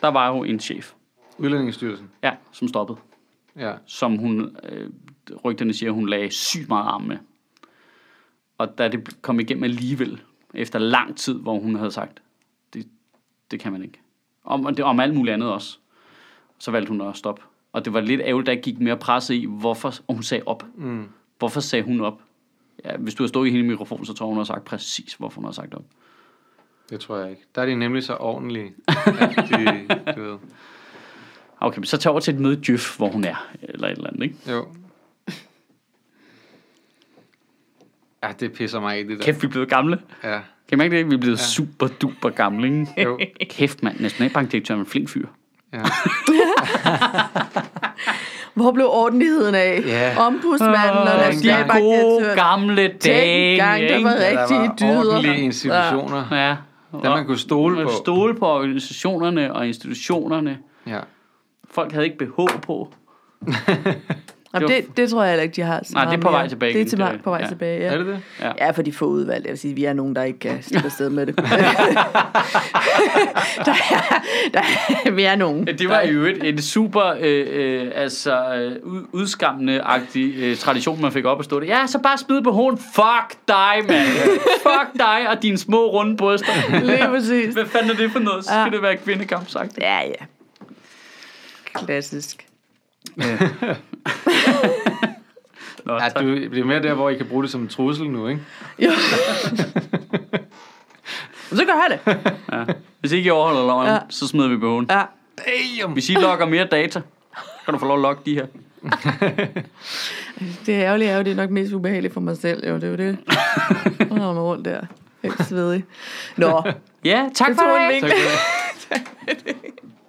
der var jo en chef,
Udlændingsstyrelsen.
ja, som stoppede.
Ja.
Som hun, øh, rygterne siger, hun lagde sygt meget arm med. Og da det kom igennem alligevel, efter lang tid, hvor hun havde sagt, det, det kan man ikke. Om, og det, om alt muligt andet også. Så valgte hun at stoppe. Og det var lidt ærgerligt, der gik mere presse i, hvorfor og hun sagde op.
Mm.
Hvorfor sagde hun op? Ja, hvis du har stået i hendes mikrofon, så tror jeg, hun har sagt præcis, hvorfor hun har sagt op.
Det tror jeg ikke. Der er de nemlig så ordentlige. at de,
(laughs)
du ved.
Okay, men så tag over til et møde i Djøf, hvor hun er, eller et eller andet, ikke?
Jo. Ja, det pisser mig af, det der.
Kæft, vi er blevet gamle.
Ja.
Kan I mærke det? Vi er blevet ja. super duper gamle, ikke? (laughs)
Jo.
Kæft, mand. Nationalbankdirektøren er en flink fyr.
Ja.
Hvor blev ordentligheden af?
Ja.
Ombudsmanden og
Åh,
de gode
nationalbankdirektøren.
gamle dage.
engang, det
ikke?
var
Ja, der var
Rigtige dyder.
ordentlige institutioner.
Ja.
Dem, man kunne stole
man
på.
stole på organisationerne og institutionerne.
Ja.
Folk havde ikke behov på.
Jamen,
Det var-
det, det tror jeg heller ikke, de har. så
Nej, det er
meget
på vej
mere.
tilbage
Det er
igen,
til,
det
vej-
der.
på vej
Ja.
tilbage,
ja.
ja.
Er det det?
Ja, for de få udvalgte. Jeg vil sige, vi er nogen, der ikke kan slippe afsted med
(laughs)
det. (laughs) der, er, der er, vi er nogen.
Det var i øvrigt en super øh, øh, altså, øh, ud- udskammende-agtig øh, tradition, man fik op at stå det. Ja, så bare smid på hovedet. Fuck dig, (laughs) mand. Fuck dig og dine små runde bryster. (laughs)
Lige præcis.
Hvad fanden er det for noget? Så skal
Ja.
det være kvindekamp, sagt.
Ja, ja. Klassisk.
Nå,
Ja,
tak.
du, det er mere der, hvor I kan bruge det som en trussel nu, ikke?
Jo. så gør jeg det.
Hvis ikke I overholder loven, ja.
Ja.
så smider vi behoven.
Ja.
Damn!
Hvis I logger mere data, så kan du få lov at logge de her.
Det er ærgerligt, ærgerligt. Det er nok mest ubehageligt for mig selv. Jo, det er jo det. Jeg holder mig rundt der. Helt svedig. Nå,
Ja, tak
det
for
tog en
det.
vink.
Tak for det.